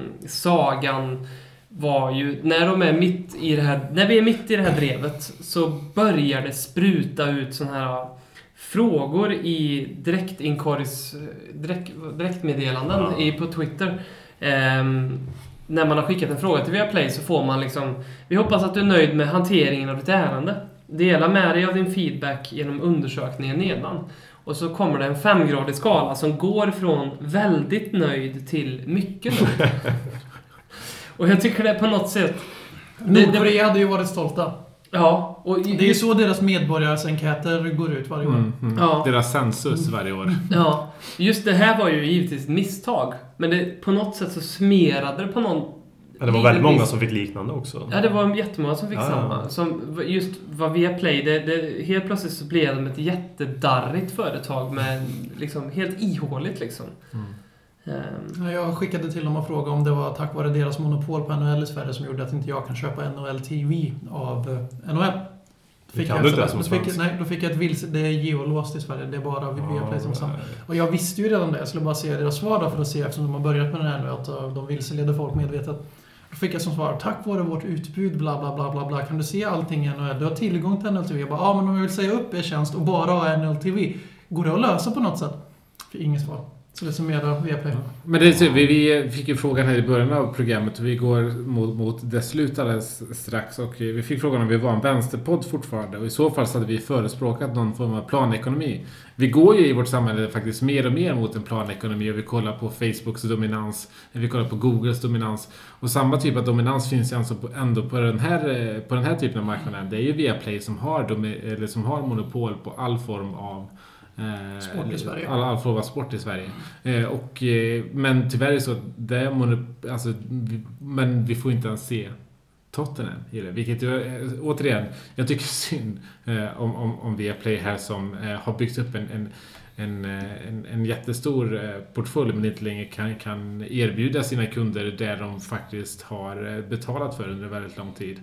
Speaker 3: sagan var ju när de är mitt i det här, när vi är mitt i det här drevet så börjar det spruta ut såna här frågor i direktinkorgs, direkt, direktmeddelanden i, på Twitter. Ehm, när man har skickat en fråga till Viaplay så får man liksom Vi hoppas att du är nöjd med hanteringen av ditt ärende. Dela med dig av din feedback genom undersökningen nedan. Och så kommer det en femgradig skala som går från väldigt nöjd till mycket nöjd.
Speaker 4: [LAUGHS]
Speaker 3: och jag tycker det är på något sätt... det- det-
Speaker 4: Nordkorea hade ju varit stolta.
Speaker 3: Ja, och...
Speaker 4: Det är ju så deras medborgarsenkäter går ut varje år.
Speaker 5: Mm, mm.
Speaker 3: Ja.
Speaker 5: Deras census varje år.
Speaker 3: Ja, just det här var ju givetvis ett misstag. Men det, på något sätt så smerade det på någon...
Speaker 6: Men det var väldigt många som fick liknande också.
Speaker 3: Ja, det var jättemånga som fick
Speaker 6: Ja, ja.
Speaker 3: samma. Som, just vad Viaplay, det, det, helt plötsligt så blev de ett jättedarrigt företag med liksom helt ihåligt liksom.
Speaker 6: Mm.
Speaker 3: Ehm,
Speaker 4: Ja, Jag skickade till dem och frågade om det var tack vare deras monopol på NHL i Sverige som gjorde att inte jag kan köpa NHL TV av eh, NHL. Då
Speaker 6: Det kan du
Speaker 4: jag-
Speaker 6: inte ens som
Speaker 4: då fick,
Speaker 6: svensk.
Speaker 4: Nej, då fick jag ett vilse... Det är geolåst i Sverige. Det är bara Viaplay
Speaker 6: Ah,
Speaker 4: som samlar. Och jag visste ju redan det. Jag skulle bara se deras svar då för att se, eftersom de har börjat med det här nu, att eh, de vilseleder folk medvetet. Då fick jag som svar, tack vare vårt utbud bla bla bla bla bla, kan du se allting i NHL? Du har tillgång till NLTV. Jag bara, ja men om jag vill säga upp er tjänst och bara ha NLTV, går det att lösa på något sätt? Fick inget svar. Så det summerar Viaplay.
Speaker 5: Men det är typ, vi, vi fick ju frågan här i början av programmet. Vi går mot, mot dess slut alldeles strax. Och vi fick frågan om vi var en vänsterpodd fortfarande. Och i så fall så hade vi förespråkat någon form av planekonomi. Vi går ju i vårt samhälle faktiskt mer och mer mot en planekonomi. Och vi kollar på Facebooks dominans. Vi kollar på Googles dominans. Och samma typ av dominans finns ju alltså på, ändå på den, här, eh, på den här typen av marknaden. Det är ju Viaplay som har, domi- eller som har monopol på all form av eh,
Speaker 4: Sport i Sverige.
Speaker 5: All, all form av sport i Sverige. Eh, och, eh, men tyvärr är det så att det är monop- alltså, vi, men vi får inte ens se Tottenham i det. Vilket ju, eh, återigen, jag tycker synd eh, om, om, om Viaplay här som eh, har byggt upp en, en en, eh, en, en jättestor eh, portfölj men inte längre kan, kan erbjuda sina kunder det de faktiskt har eh, betalat för under väldigt lång tid.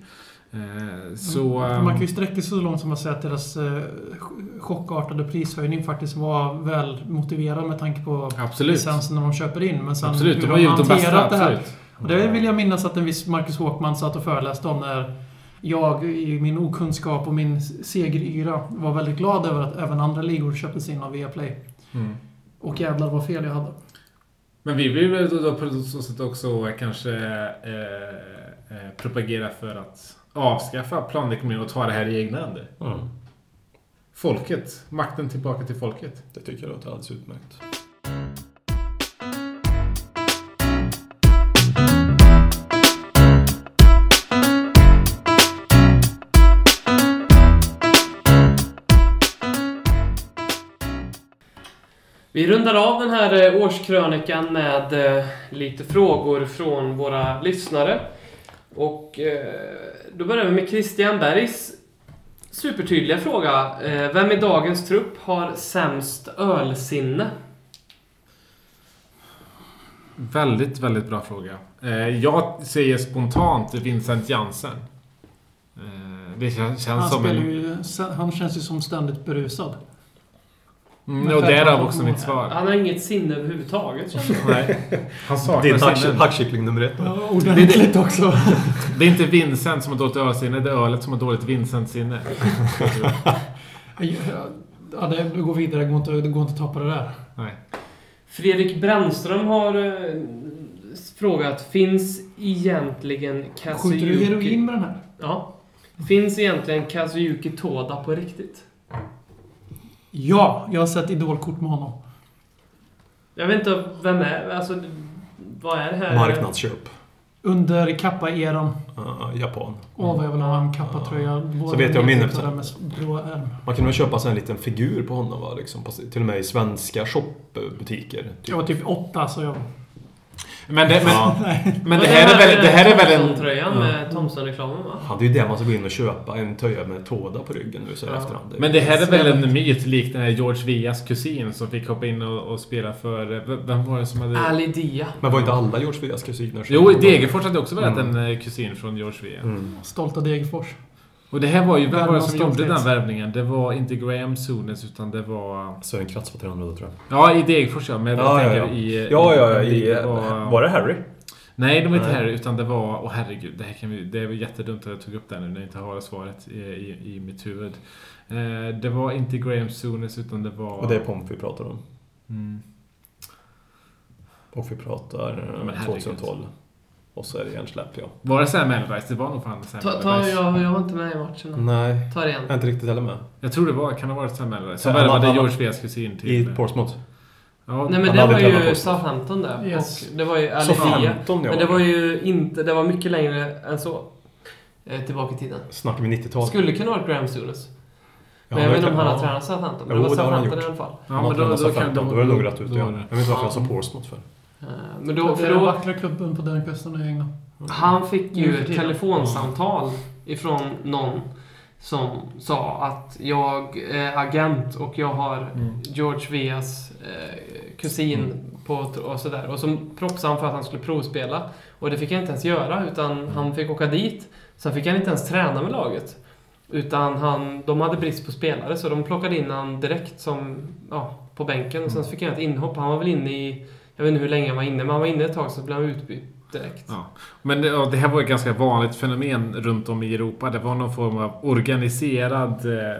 Speaker 5: Eh, Så... eh,
Speaker 4: Mm. Man kan ju sträcka sig så långt som att säga att deras eh, ch- chockartade prishöjning faktiskt var väl motiverad med tanke på
Speaker 5: Absolut.
Speaker 4: licensen när de köper in. Men sen
Speaker 5: Absolut,
Speaker 4: hur
Speaker 5: de har gjort de bästa.
Speaker 4: hanterat det här.
Speaker 5: Absolut.
Speaker 4: Och det vill jag minnas att en viss Marcus Håkman satt och föreläste om när jag i min okunskap och min segeryra var väldigt glad över att även andra ligor köptes in av Viaplay.
Speaker 5: Mm.
Speaker 4: Och jävlar vad fel jag hade.
Speaker 5: Men vi vill väl då, då på så sätt också kanske eh, eh, propagera för att avskaffa planekonomin och ta det här i egna händer.
Speaker 6: Mm.
Speaker 5: Folket. Makten tillbaka till folket.
Speaker 6: Det tycker jag låter alldeles utmärkt.
Speaker 3: Vi rundar av den här eh, årskrönikan med eh, lite frågor från våra lyssnare. Och eh, då börjar vi med Christian Bergs supertydliga fråga. Eh, Vem i dagens trupp har sämst ölsinne?
Speaker 5: Väldigt, väldigt bra fråga. Eh, jag säger spontant Vincent Jansen. Eh, det kän- känns
Speaker 4: Han,
Speaker 5: som
Speaker 4: spelar
Speaker 5: en...
Speaker 4: ju, han känns ju som ständigt berusad.
Speaker 5: Mm, och därav också mitt svar.
Speaker 3: Han har inget sinne överhuvudtaget känner jag.
Speaker 5: Nej. Han
Speaker 6: Din
Speaker 5: saknar
Speaker 6: hack,
Speaker 5: sinnen.
Speaker 6: hackkyckling nummer ett. då.
Speaker 4: Ordentligt också. [LAUGHS]
Speaker 5: Det är inte Vincent som har dåligt ölsinne, det är ölet som har dåligt Vincent-sinne.
Speaker 4: Ja, det, du går vidare. Det går, inte, det går inte att tappa det där.
Speaker 5: Nej.
Speaker 3: Fredrik Brännström har eh, frågat Finns egentligen Kazuyuki...
Speaker 4: Skjuter du heroin med den här?
Speaker 3: Ja. Finns egentligen Kazuyuki Toda på riktigt?
Speaker 4: Ja, jag har sett idolkort med honom.
Speaker 3: Jag vet inte vem är... Alltså, vad är det här?
Speaker 6: Marknadsköp.
Speaker 4: Under kappa-eran.
Speaker 6: Ah, Japan.
Speaker 4: Åh, vad jag vill ha en
Speaker 5: Ah.
Speaker 4: kappatröja. Både
Speaker 6: vet jag om minnet.
Speaker 4: nedklippta Med s- blå ärm.
Speaker 6: Man kunde väl köpa sig en liten figur på honom va? Liksom, på, till och med i svenska shopbutiker.
Speaker 4: Jag
Speaker 6: Typ.
Speaker 4: var typ åtta, så jag...
Speaker 5: Men, det, men, men
Speaker 3: Ja,
Speaker 5: det här är väl, det här är väl en...
Speaker 3: Thompson-tröjan med Thomson-reklamen va?
Speaker 6: Ja, det är ju det man ska gå in och köpa. En tröja med Toda på ryggen nu så här i efterhand.
Speaker 5: Men det här är väl en myt lik den här George Vias kusin som fick hoppa in och, och spela för... eh, v- Vem var det som hade...
Speaker 3: Ali Dia.
Speaker 6: Men var inte alla George Vias kusiner? som-
Speaker 5: Jo, Degerfors hade också varit en eh, kusin från George Via.
Speaker 6: Mm.
Speaker 4: Stolta Degerfors.
Speaker 5: Och det här var ju... Vem var det som
Speaker 4: Värmlands
Speaker 5: gjorde den
Speaker 4: stolthet.
Speaker 5: värvningen? Det var inte Graham Souness utan det var...
Speaker 6: Sören Kratz var tränare då tror jag.
Speaker 5: Ja, i Degerfors ja. Men jag
Speaker 6: Ja, ja,
Speaker 5: tänker
Speaker 6: ja.
Speaker 5: i...
Speaker 6: Ja, ja, ja. I,
Speaker 5: det var-
Speaker 6: var det Harry?
Speaker 5: Nej, de var inte
Speaker 6: Nej.
Speaker 5: här utan det var... Åh herregud, det, här kan vi, det är väl jättedumt att jag tog upp det här nu när jag inte har svaret i, i, i mitt huvud. Eh, det var inte Graham Souness utan det var...
Speaker 6: Och det är Pomp vi pratar om.
Speaker 5: Mm.
Speaker 6: Och vi pratar eh,
Speaker 5: Men herregud.
Speaker 6: 2012. Och så är det Jens Läpp, ja.
Speaker 5: Var det Sam Allardyce? Det var nog fan Sam
Speaker 3: Ta, ta,
Speaker 5: Allardyce. jag...
Speaker 3: jag, jag var inte med i
Speaker 6: Mm.
Speaker 3: matchen.
Speaker 6: Nej,
Speaker 3: Ta det igen.
Speaker 6: jag är inte riktigt heller med.
Speaker 5: tror det var, kan det ha varit Sam Allardyce? Som
Speaker 6: Sam
Speaker 5: värvade
Speaker 6: Allardyce.
Speaker 5: George Vias kusin
Speaker 6: I
Speaker 5: till...
Speaker 6: Portsmouth.
Speaker 5: Ja,
Speaker 3: Nej men
Speaker 6: Han
Speaker 3: det
Speaker 6: hade
Speaker 3: var
Speaker 6: tränat
Speaker 3: ju
Speaker 6: på-
Speaker 3: Southampton där.
Speaker 4: Yes.
Speaker 3: Och det var ju Ali
Speaker 6: Så
Speaker 3: Dia.
Speaker 6: 15 ja.
Speaker 3: Men det var ju inte... Det var mycket längre än så. Eh, tillbaka i tiden.
Speaker 6: Snackar vi 90-tal?
Speaker 3: Skulle kunna vara Graham Souness.
Speaker 6: Ja,
Speaker 3: Men jag
Speaker 6: det
Speaker 3: vet inte om han
Speaker 6: kan-
Speaker 3: har
Speaker 6: ja.
Speaker 3: tränat Southampton. Men
Speaker 6: Jo,
Speaker 3: det var
Speaker 6: det har han
Speaker 3: Southampton i alla
Speaker 6: gjort.
Speaker 3: fall.
Speaker 5: Ja, men då, då kan...
Speaker 6: Då
Speaker 5: de-
Speaker 6: var det nog rätt ut,
Speaker 5: då
Speaker 6: ja. Jag
Speaker 5: var det.
Speaker 6: vet inte varför jag sa Portsmouth för.
Speaker 3: Eh, Men
Speaker 4: Då,
Speaker 3: då...
Speaker 4: det är
Speaker 3: För
Speaker 4: den
Speaker 3: då
Speaker 4: vackra klubben på den kusten i England.
Speaker 3: Han fick
Speaker 4: Mm. Nu
Speaker 3: ju
Speaker 4: för
Speaker 3: ett
Speaker 4: tiden.
Speaker 3: telefonsamtal ifrån någon som sa att jag är agent och jag har
Speaker 5: Mm.
Speaker 3: George Vias eh, kusin
Speaker 4: Mm.
Speaker 3: på och sådär. Och så propsade han för att han skulle provspela. Och det fick han inte ens göra utan
Speaker 4: Mm.
Speaker 3: han fick åka dit. Sen fick han inte ens träna med laget. Utan han, de hade brist på spelare så de plockade in han direkt som, ja,
Speaker 4: Mm.
Speaker 3: på bänken. Och sen så fick han ett inhopp. Han var väl inne i, jag vet inte hur länge han var inne, men han var inne ett tag så blev han utbytt direkt.
Speaker 5: Ja. Men det, ja, det här var ett ganska vanligt fenomen runt om i Europa. Det var någon form av organiserad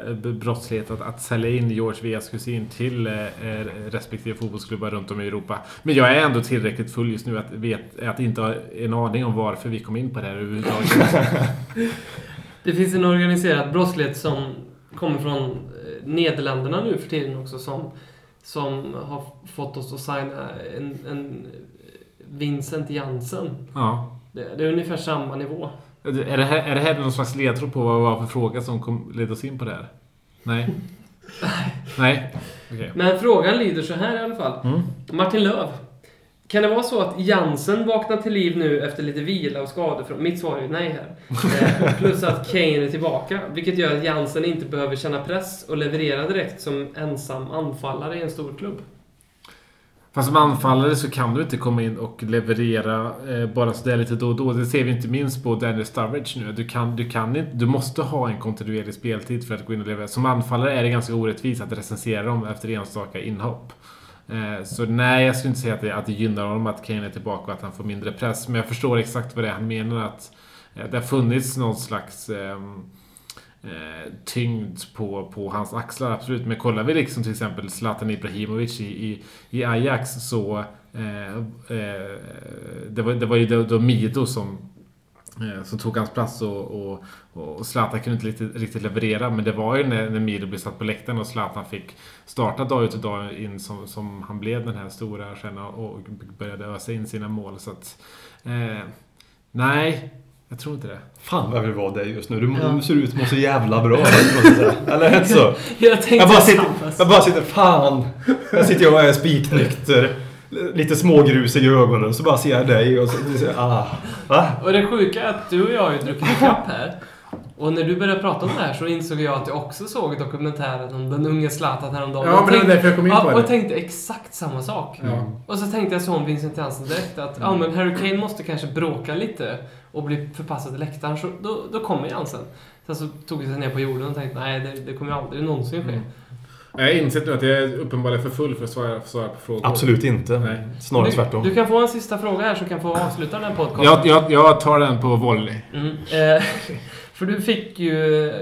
Speaker 5: eh, b- brottslighet att, att sälja in George Weahs kusin till eh, eh, respektive fotbollsklubbar runt om i Europa. Men jag är ändå tillräckligt full just nu att, vet, att inte ha en aning om varför vi kom in på det här överhuvudtaget.
Speaker 3: Det finns en organiserad brottslighet som kommer från eh, Nederländerna nu för tiden också som, som har fått oss att signa en, en Vincent Jansen.
Speaker 5: ja.
Speaker 3: Det, det är ungefär samma nivå.
Speaker 5: är, det här, är det här någon slags ledtråd på vad det var för fråga som kom, ledde oss in på det här? Nej? Nej? Okej.
Speaker 3: Men frågan lyder så här i alla fall.
Speaker 5: Mm.
Speaker 3: Martin Löv. Kan det vara så att Jansen vaknar till liv nu efter lite vila och skador? Från... Mitt svar är ju nej här. Eh, Plus att Kane är tillbaka, vilket gör att Jansen inte behöver känna press och leverera direkt som ensam anfallare i en stor klubb.
Speaker 5: Fast som anfallare så kan du inte komma in och leverera eh, bara sådär lite då och då. Det ser vi inte minst på Daniel Sturridge nu. Du, kan, du, kan inte, du måste ha en kontinuerlig speltid för att gå in och leverera. Som anfallare är det ganska orättvist att recensera dem efter enstaka inhopp. Eh, så nej, jag skulle inte säga att det, att det gynnar honom att Kane är tillbaka och att han får mindre press. Men jag förstår exakt vad det är han menar. Att eh, det har funnits någon slags... ehm, eh, tyngd på, på hans axlar, absolut. Men kollar vi liksom till exempel Zlatan Ibrahimovic i, i, i Ajax så... Eh, eh, det, var, det var ju då, då Mido som, eh, som tog hans plats och, och, och Zlatan kunde inte riktigt, riktigt leverera. Men det var ju när, när Mido blev satt på läktaren och Zlatan fick starta dag ut och dag in som, som han blev den här stora stjärnan och började ösa in sina mål. Så att, eh, nej, jag tror inte det.
Speaker 6: Fan vad jag vill vara dig just nu. Du
Speaker 3: Ja.
Speaker 6: du ser ut att må så jävla bra. Eller hur? så?
Speaker 3: Jag tänkte
Speaker 6: Jag bara, sitter,
Speaker 3: samma sak.
Speaker 6: jag bara sitter, fan. Jag sitter och är spiknykter. Lite smågrusig i ögonen. Så bara ser jag dig och så, så ah. Va?
Speaker 3: Och det sjuka är att du och jag har ju druckit ikapp här. Och när du började prata om det här så insåg jag att jag också såg dokumentären om den unge Zlatan häromdagen.
Speaker 5: Ja, men det var
Speaker 3: Och tänkte-
Speaker 5: därför jag kom in på
Speaker 3: ja,
Speaker 5: det.
Speaker 3: Och tänkte exakt samma sak. Och så tänkte jag så om Vincent Jansen direkt att ja, men Harry Kane måste kanske bråka lite och bli förpassad till läktaren. Så då, då kommer Jansen. Sen så tog jag sig ner på jorden och tänkte nej, det, det kommer ju aldrig någonsin
Speaker 5: Mm.
Speaker 3: ske.
Speaker 5: Jag har insett nu att jag är uppenbarligen för full för att svara, svara på frågor.
Speaker 6: Absolut inte.
Speaker 5: Nej.
Speaker 6: Snarare
Speaker 3: Du, du
Speaker 6: tvärtom.
Speaker 3: kan få en sista fråga här som kan få avsluta den här podcasten.
Speaker 5: Jag, jag, jag tar den på volley.
Speaker 3: Mm. Eh, [LAUGHS] för du fick ju... eh,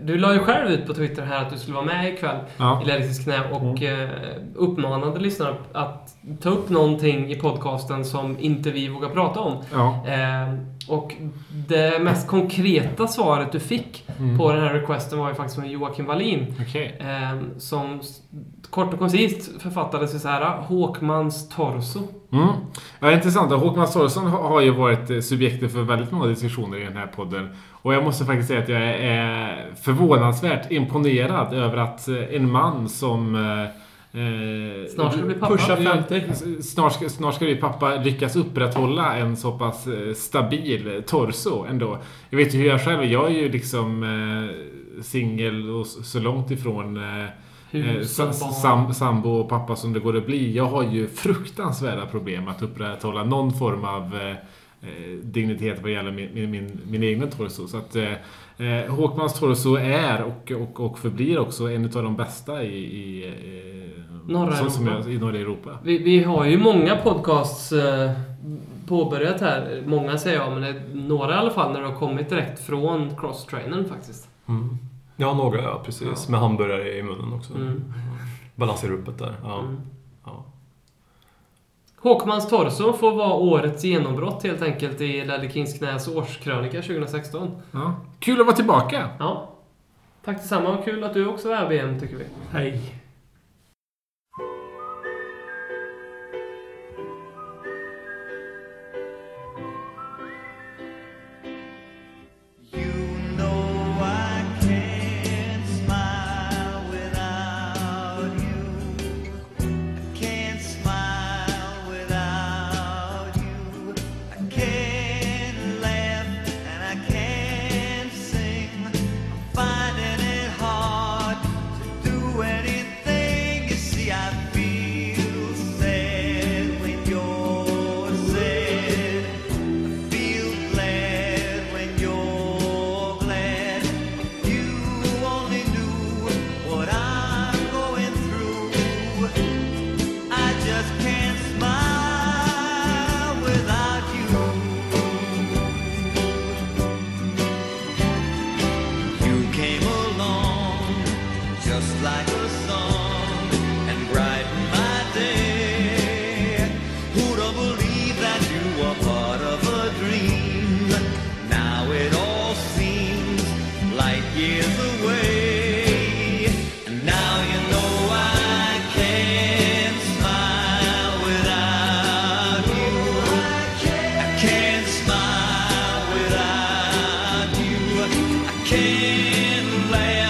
Speaker 3: Du la ju själv ut på Twitter här att du skulle vara med ikväll
Speaker 5: Ja.
Speaker 3: i Lerikes knä
Speaker 5: Mm.
Speaker 3: och eh, uppmanade lyssnarna att ta upp någonting i podcasten som inte vi vågar prata om.
Speaker 5: Ja.
Speaker 3: Eh, och det mest konkreta svaret du fick
Speaker 5: Mm.
Speaker 3: på den här requesten var ju faktiskt från Joakim Wallin.
Speaker 5: Okej.
Speaker 3: Eh, som s- kort och koncist författade sig så här Håkmans torso.
Speaker 5: Mm. Ja, intressant. Håkan Sorsson har har ju varit eh, subjektet för väldigt många diskussioner i den här podden. Och jag måste faktiskt säga att jag är förvånansvärt imponerad över att eh, en man som... eh, eh,
Speaker 3: Snart ska bli pappa.
Speaker 5: pushar 50. Snart ska, snart ska bli pappa lyckas upprätthålla en så pass eh, stabil torso ändå. Jag vet ju hur jag själv är. Jag är ju liksom eh, singel och s- så långt ifrån eh, Eh,
Speaker 3: Hus och
Speaker 5: sa-
Speaker 3: barn.
Speaker 5: sam, sambo och pappa som det går att bli. Jag har ju fruktansvärda problem att upprätthålla någon form av eh, eh, dignitet vad gäller min, min, min, min egen torso. Så att, eh, eh, Håkmans torso är och, och, och förblir också en av de bästa i, i, eh,
Speaker 3: Norra
Speaker 5: som, som
Speaker 3: Europa.
Speaker 5: jag, i norra Europa.
Speaker 3: Vi, vi har ju många podcasts eh, påbörjat här. Många säger jag, men det är några i alla fall när det har kommit direkt från crosstrainern faktiskt.
Speaker 6: Mm. Ja, några ja, precis. Med hamburgare i munnen också.
Speaker 3: Mm.
Speaker 6: Balanserar upp det där. Ja.
Speaker 3: Mm.
Speaker 6: Ja.
Speaker 3: Håkmans torso får vara årets genombrott helt enkelt i Lelle Kings knäs årskrönika 2016.
Speaker 5: Ja. Kul att vara tillbaka!
Speaker 3: Ja. Tack detsamma, och kul att du också är BM tycker vi.
Speaker 4: Hej.
Speaker 7: You know I can't smile without you. I can't smile without you. I can't laugh and I can't sing. I'm finding it hard to do anything. like a song and brighten my day. Who'd have believed that you were part of a dream? Now it all seems like years away. And now you know I can't smile without you. I can't smile without you. I can't laugh.